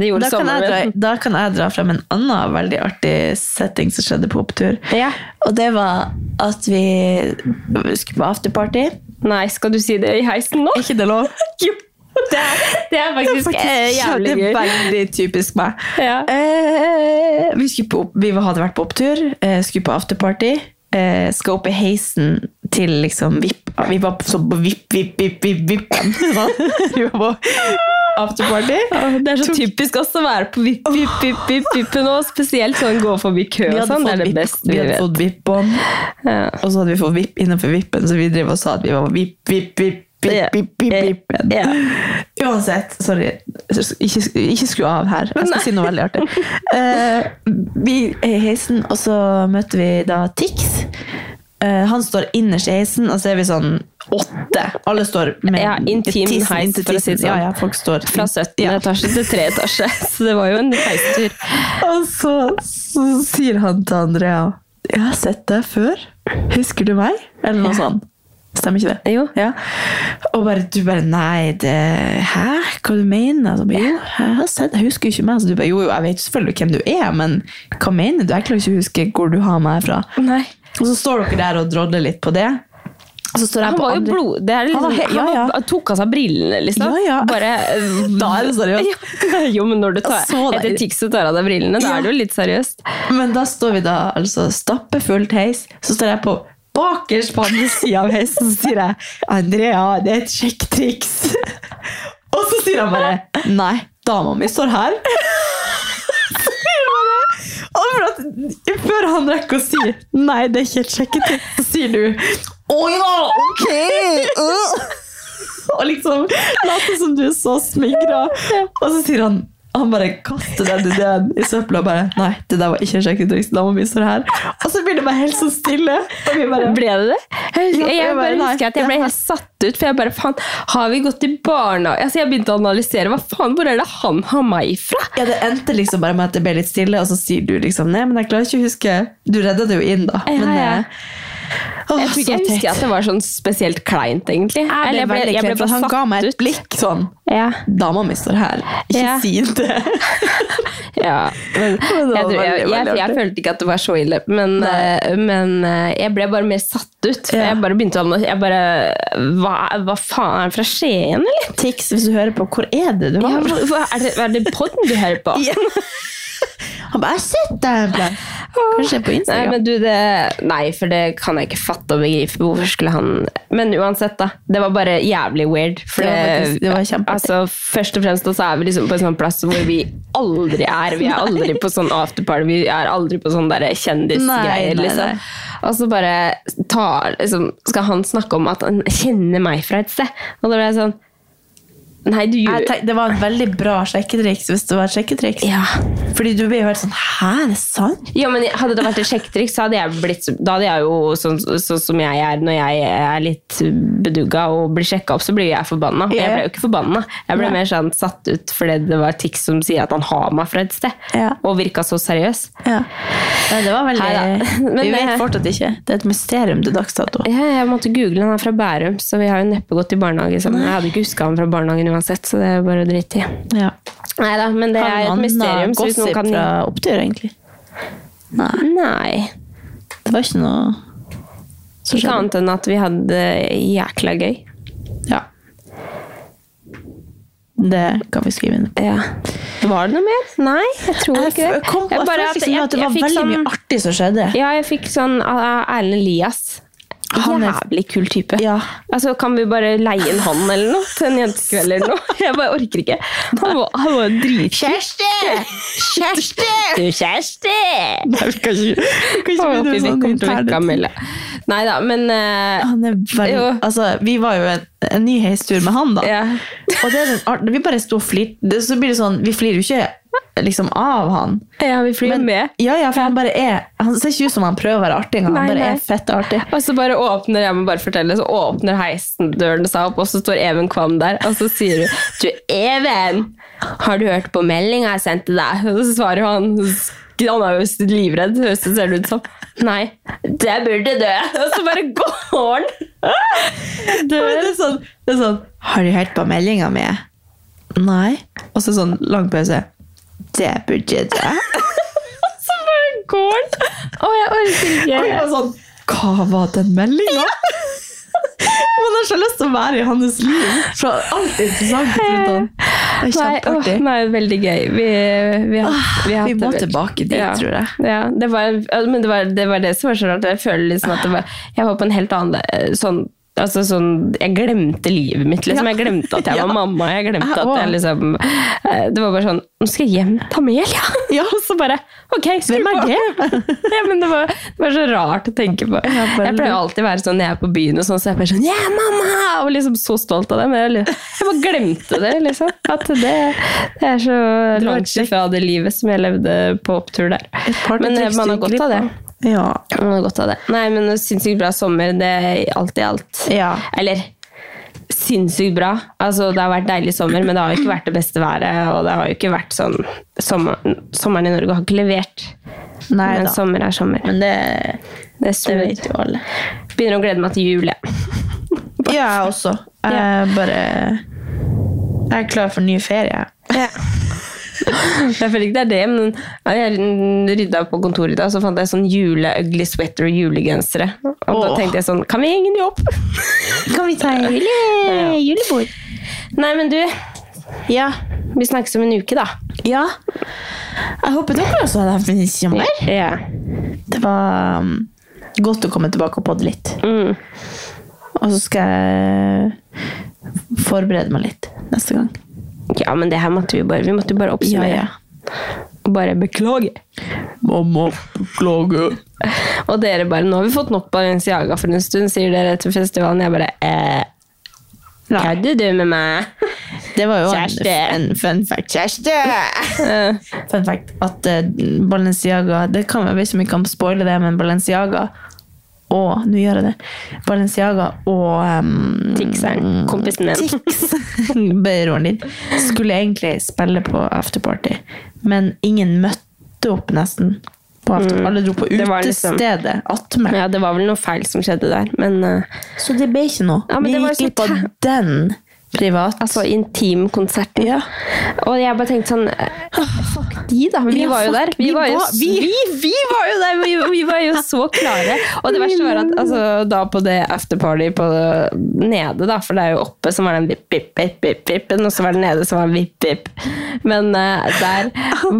det gjorde da kan, jeg sommeren dra, min. da kan jeg dra frem en annen veldig artig setting som skjedde på opptur. Ja. Og det var at vi skulle på afterparty. Nei, skal du si det i heisen nå? Er ikke det lov? *laughs* Jo, det er, det er faktisk, eh, jævlig Det er gøy. veldig typisk meg. Ja. Eh, vi, skulle på, opp- vi hadde vært på opptur, eh, skulle på afterparty. Eh, skal opp i heisen til liksom VIP. Vi var på, sånn på VIP, VIP, VIP, VIP, VIP. *laughs* Sånn. Vi var på afterparty. Det er så typisk oss å være på vipp, vipp, vipp, vipp, vippen og spesielt sånn gå forbi kø Vi og hadde sånn. Det fått er det VIP- beste vi Vi hadde vet. fått VIP-bånd, Ja. og så hadde vi fått VIP innenfor VIP-en, så vi drev og sa at vi var VIP, VIP, VIP. Ja. VIP, VIP, VIP-en. Ja. Uansett, sorry. Ikke, ikke skru av her. Jeg skal si noe veldig artig. Eh, vi er i heisen, og så møter vi da Tix. Eh, han står innerst i heisen, og så er vi sånn åtte. Alle står med Ja, intim tissen heis, inntil for å si det tissen. Ja, sånn. ja, folk står Fra 17. etasje til 3 *laughs* etasje. Så det var jo en heistur. Og så, så sier han til Andrea Jeg har sett deg før. Husker du meg? Eller noe sånt. Stemmer ikke det? Jo. Ja. Og bare, du bare Nei, det Hæ? Hva du mener du? Jo, jeg har sett Jeg husker ikke meg. Så du bare, jo, jo, jeg vet selvfølgelig hvem du er, men hva mener du? Jeg klarer ikke å huske hvor du har meg fra. Nei. Og så står dere der og drodler litt på det. Og så står jeg Han på var jo andre- blod... Det er liksom, Han var he- ja, han ja. var- han tok av seg brillene, liksom. Ja, ja. Bare, eh, *laughs* Da er det seriøst. *laughs* Ja. Jo, men når du tar, Så deilig. etter Tix og tar av deg brillene, da Ja. er det jo litt seriøst. Men da står vi da altså stappefullt heis, så står jeg på bakerst på andre sida av heisen, så sier jeg 'Andrea, det er et sjekketriks'. Og så sier han bare 'Nei, dama mi står her'. over at før han rekker å si Nei, det er ikke et sjekketriks, så sier du Å ja, ok! øh.» Og liksom later som du er så smigra. Og så sier han han bare kaster den ideen i søpla og bare Nei, det der var ikke et sjekketriks. Da må vi stå her. Og så blir det bare helt så stille. Og vi bare, Ble det det? Jeg, Ja, husker, jeg jeg bare, bare nei, husker at jeg ble helt satt ut, for jeg bare faen, har vi gått i barnehage? Altså, jeg begynte å analysere, hva faen, hvor er det han har meg fra? Ja, det endte liksom bare med at det ble litt stille, og så sier du liksom Nei, men jeg klarer ikke å huske Du redda det jo inn, da. Ja, men, ja. eh, åh, jeg tror ikke jeg så husker teit. at det var sånn spesielt kleint, egentlig. Jeg ble Eller jeg ble, veldig jeg ble klein, for bare han satt ga meg et blikk sånn. Ja. Dama mi står her. Ikke Ja. si *laughs* det. ja. Men, jeg, tror, var jeg, veldig, jeg, jeg, veldig artig. følte ikke at det var så ille, men, eh, men eh, jeg ble bare mer satt ut. for Jeg bare begynte å analysere. Jeg bare, hva, hva faen, er han fra Skien, eller? Tix, hvis du hører på, hvor er det du Ja, var? hva, hva- er, det, er det podden du hører på? Ja. Han bare 'Jeg har sett deg en plass'. Kanskje på Nei, Instagram. men du, det, nei, for det kan jeg ikke fatte og begripe. Hvorfor skulle han Men uansett, da. Det var bare jævlig weird. For Det var det, faktisk- det var kjempeartig. altså, først og fremst da, så er vi liksom på en sånn plass hvor vi aldri er. *laughs* Vi er aldri på sånn afterparty, vi er aldri på sånn der Nei, nei, kjendisgreier. nei. Liksom. Og så bare tar, liksom, skal han snakke om at han kjenner meg fra et sted. Og da ble jeg sånn Nei, du Jeg gjør tenk- det var et veldig bra sjekketriks, hvis det var et sjekketriks. ja. Fordi du blir jo helt sånn 'hæ, er det sant?' Ja, men Hadde det vært et sjekketriks, så hadde jeg blitt Da hadde jeg jo, sånn sånn som jeg er når jeg er litt bedugga og blir sjekka opp, så blir jeg forbanna. Men Jeg ble jo ikke forbanna. Jeg ble Nei. mer sånn satt ut fordi det var Tix som sier at han har meg fra et sted, Ja. og virka så seriøs. Ja. Nei, det var veldig Hei da. *laughs* Men eh, Vi det- vet fortsatt ikke. Det er et mysterium til dags dato. Ja, jeg måtte google han er fra Bærum, så vi har jo neppe gått i barnehage sammen. Jeg hadde ikke huska han fra barnehagen uansett, så det er bare å drite i. Ja. Nei da, men det er et mysterium. Så hvis noen kan fra opptur, egentlig? Nei, Nei. det var ikke noe som Ikke skjedde. annet enn at vi hadde det jækla gøy. Ja. Det kan vi skrive inn. Ja. Var det noe mer? Nei, jeg tror Jeg, ikke det. kom på, jeg, bare følte liksom jeg- at det var jeg fikk veldig sånn- mye artig som skjedde. Ja, jeg fikk sånn av Erlend Elias. Han er- Jævlig kul type. Ja. Altså, Kan vi bare leie en han eller noe til en jentekveld eller noe? *laughs* Jeg bare orker ikke. Han var, han var dritkul. Kjersti! Kjersti! Du, Kjersti! Nei, vi kan ikke, vi kan ikke Å, begynne fy, med vi sånn kommer til å vekke interne ting. Amelle. Nei da, men eh, Han er veldig, Jo. altså, vi var jo en, en ny heistur med han, da. Ja. Og det er den art, vi bare sto og flirte. Det- Så blir det sånn, vi flirer jo ikke liksom av han. ja, vi flyr jo Men- med. Ja, ja, for han bare er Han ser ikke ut som han prøver å være artig, engang. han Nei, bare nei. er fett artig. Og så bare åpner jeg må bare fortelle, så åpner heisendøren seg opp, og så står Even Kvam der, og så sier hun Du, Even! Har du hørt på meldinga jeg sendte deg? Og så svarer han Han er jo livredd, høres det ser det ut som. Nei, det burde dø. Og så bare går han. Men Det er sånn, det er sånn Har du hørt på meldinga mi? Nei. Og så sånn lang pause. Det burde du. Så bare går han. Å, jeg orker Og vi ikke. var sånn Hva var den meldinga? *laughs* Man har så lyst til å være i hans liv. Så alt er interessant rundt han. Det er Nei, åh, kjempeartig. nei, veldig gøy. Vi, vi, har, vi, har vi hatt må det veldig- tilbake dit, ja. tror jeg. Ja, det var, ja, men det var, det var det som var så rart. Jeg føler liksom at det var, jeg var på en helt annen eh, sånn, altså sånn, Jeg glemte livet mitt, liksom. Jeg glemte *laughs* at jeg Ja. var mamma. Jeg glemte Jeg at jeg liksom eh, Det var bare sånn Nå skal jeg hjem til Amelia! *laughs* Ja. *laughs* Og så bare Ok, skru Hvem er på. *laughs* ja, men det var, det var så rart å tenke på. Ja, bare Jeg pleier alltid å være sånn når jeg er på byen, og sånn, så er jeg bare sånn Ja, mamma! Og liksom så stolt av det. Men jeg, li- jeg bare glemte det, liksom. At det, det er så var langt kjekt. ifra det livet som jeg levde på opptur der. Et partytriks Men eh, man har du gikk godt av det. glipp av. Ja. Man har godt av det. Nei, men det er sinnssykt bra sommer. Det er alt i alt. Ja. Eller sinnssykt bra. Altså, det har vært deilig sommer, men det har jo ikke vært det beste været. Og det har jo ikke vært sånn Sommeren, sommeren i Norge har ikke levert. Nei men da. sommer er sommer. Men det, det er det smooth. vet jo alle. Begynner å glede meg til jul, jeg. Ja, jeg også. Jeg bare Jeg er klar for ny ferie. Jeg føler ikke det er det, men jeg rydda på kontoret i dag, så fant jeg sånn jule-ugly sweater og julegensere. Og da Åh. tenkte jeg sånn Kan vi henge de opp? *laughs* Kan vi ta en julebord? Nei, men du, Ja. vi snakkes om en uke, da. ja. Jeg håper dere også hadde hatt en fin sommer. Ja. Det var um, godt å komme tilbake og podde litt. Mm. Og så skal jeg forberede meg litt neste gang. ja, men det her måtte vi bare Vi måtte jo bare Ja, oppsummere. ja. Og bare beklage. Mamma, beklager. Og dere bare 'Nå har vi fått nok Balenciaga for en stund', sier dere etter festivalen. Jeg bare eh, Hva hadde du med meg? Det var jo en, Kjæreste. en fun fact. Kjæreste! fun fact at eh, Balenciaga Det kan jeg vet ikke om jeg kan spoile det, men Balenciaga og Nå gjør jeg det. Balenciaga og um, Tixeren, kompisen min. *laughs* Tix, broren din, skulle egentlig spille på afterparty, men ingen møtte opp, nesten. På after Mm. Alle dro på Det var liksom- utestedet attmed. Ja, det var vel noe feil som skjedde der, men eh, Så det ble ikke noe. Ja, men Vi det var gikk jo glipp så av den privat. Altså intimkonserten. Ja. Og jeg bare tenkte sånn eh, Fuck de, da. Vi Ja, var jo fuck, der. Vi vi var jo, var- vi, vi- vi var jo der! Vi, vi var *laughs* jo så klare. Og det verste var at altså, da på det afterparty på nede, da, for det er jo oppe som var den vipp, vipp, vipp, vipp, vippen, og så var det nede som var vipp, vipp. Men eh, der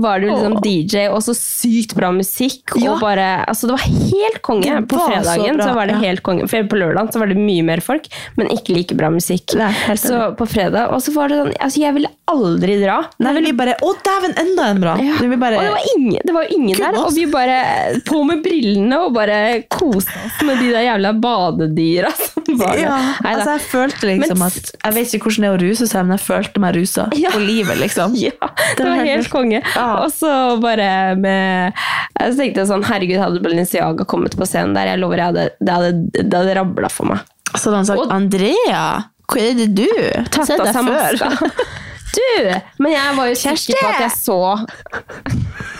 var det jo liksom DJ, og så sykt bra musikk, Ja. og bare Altså, det var helt konge. Det På var så fredagen bra, så var det ja. helt konge. For på lørdagen så var det mye mer folk, men ikke like bra musikk. Nei, helt så på fredag. Og så var det sånn altså Jeg ville aldri dra. Nei, vi bare Å, dæven, enda en bra! Ja. Du, vi bare, Og det var ingen, det var jo ingen Kun der. oss. Og vi bare på med brillene og bare koste oss med de der jævla badedyra som var der. ja, Nei da. altså jeg følte liksom Men- at Jeg vet ikke hvordan det er å ruse seg, men jeg følte meg rusa Ja. på livet, liksom. Ja, det var helt konge. Ja. Og så bare med Jeg tenkte jeg sånn Herregud, hadde Balenciaga kommet på scenen der, jeg lover jeg hadde, det hadde, det hadde rabla for meg. Så hadde han sagt Og- Andrea, hva er det du? Tatt Sett av deg seg før. maska. *laughs* Du! Men jeg var jo Kjersti! sikker på at jeg så *laughs*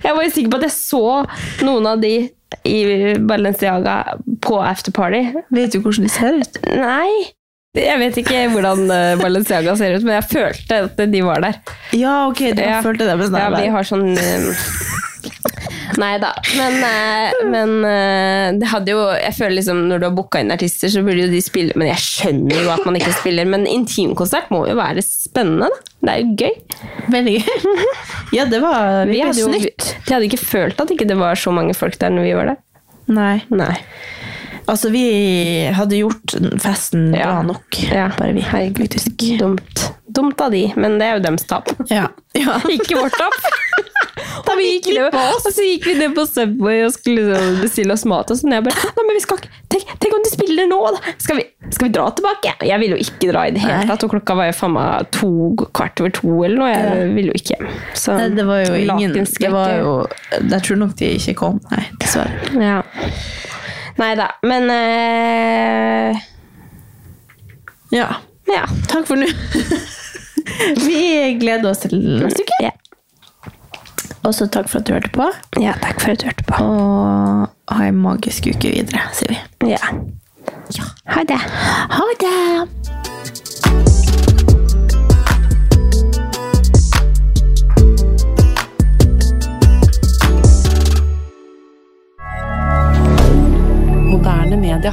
Jeg var jo sikker på at jeg så noen av de i Balenciaga på afterparty. *laughs* Vet du hvordan de ser ut? Nei! Jeg vet ikke hvordan eh, Balenciaga ser ut, men jeg følte at de var der. Ja, ok, du Ja. følte det. Men, Ja, vi *laughs* har sånn eh, Nei da. Men, eh, men eh, det hadde jo Jeg føler liksom når du har booka inn artister, så burde jo de spille Men jeg skjønner jo at man ikke spiller, men intimkonsert må jo være spennende, da. Det er jo gøy. Veldig gøy. Ja, det var Vi virkelig hadde jo, snytt. de hadde ikke følt at ikke det var så mange folk der når vi var der. Nei. Nei. Altså, vi hadde gjort festen Ja. bra nok. Ja. Bare vi. Herregud, dumt. Dumt av de, men det er jo deres tap. Ja. ja. *laughs* Ikke vårt *laughs* tap. Og, vi gikk ned, og så gikk vi ned på Subway og skulle liksom bestille oss mat. Og sånn. Jeg bare, Nei, men vi skal ikke, tenk, tenk om de spiller nå, da! Skal vi, skal vi dra tilbake? Jeg ville jo ikke dra i det hele Nei. tatt, og klokka var jo faen meg to, kvart over to eller noe. Jeg ville jo ikke hjem. Så Nei, det var jo ingen lakenskrekk. det var jo, Jeg tror nok de ikke kom. Nei, dessverre. Ja. Nei da, men eh, Ja. Ja. Takk for nå. vi gleder oss til neste uke. Ja. Og så takk for at du hørte på. ja, takk for at du hørte på. Og ha en magisk uke videre, sier vi. Ja. Ha det. Ha det! Moderne media.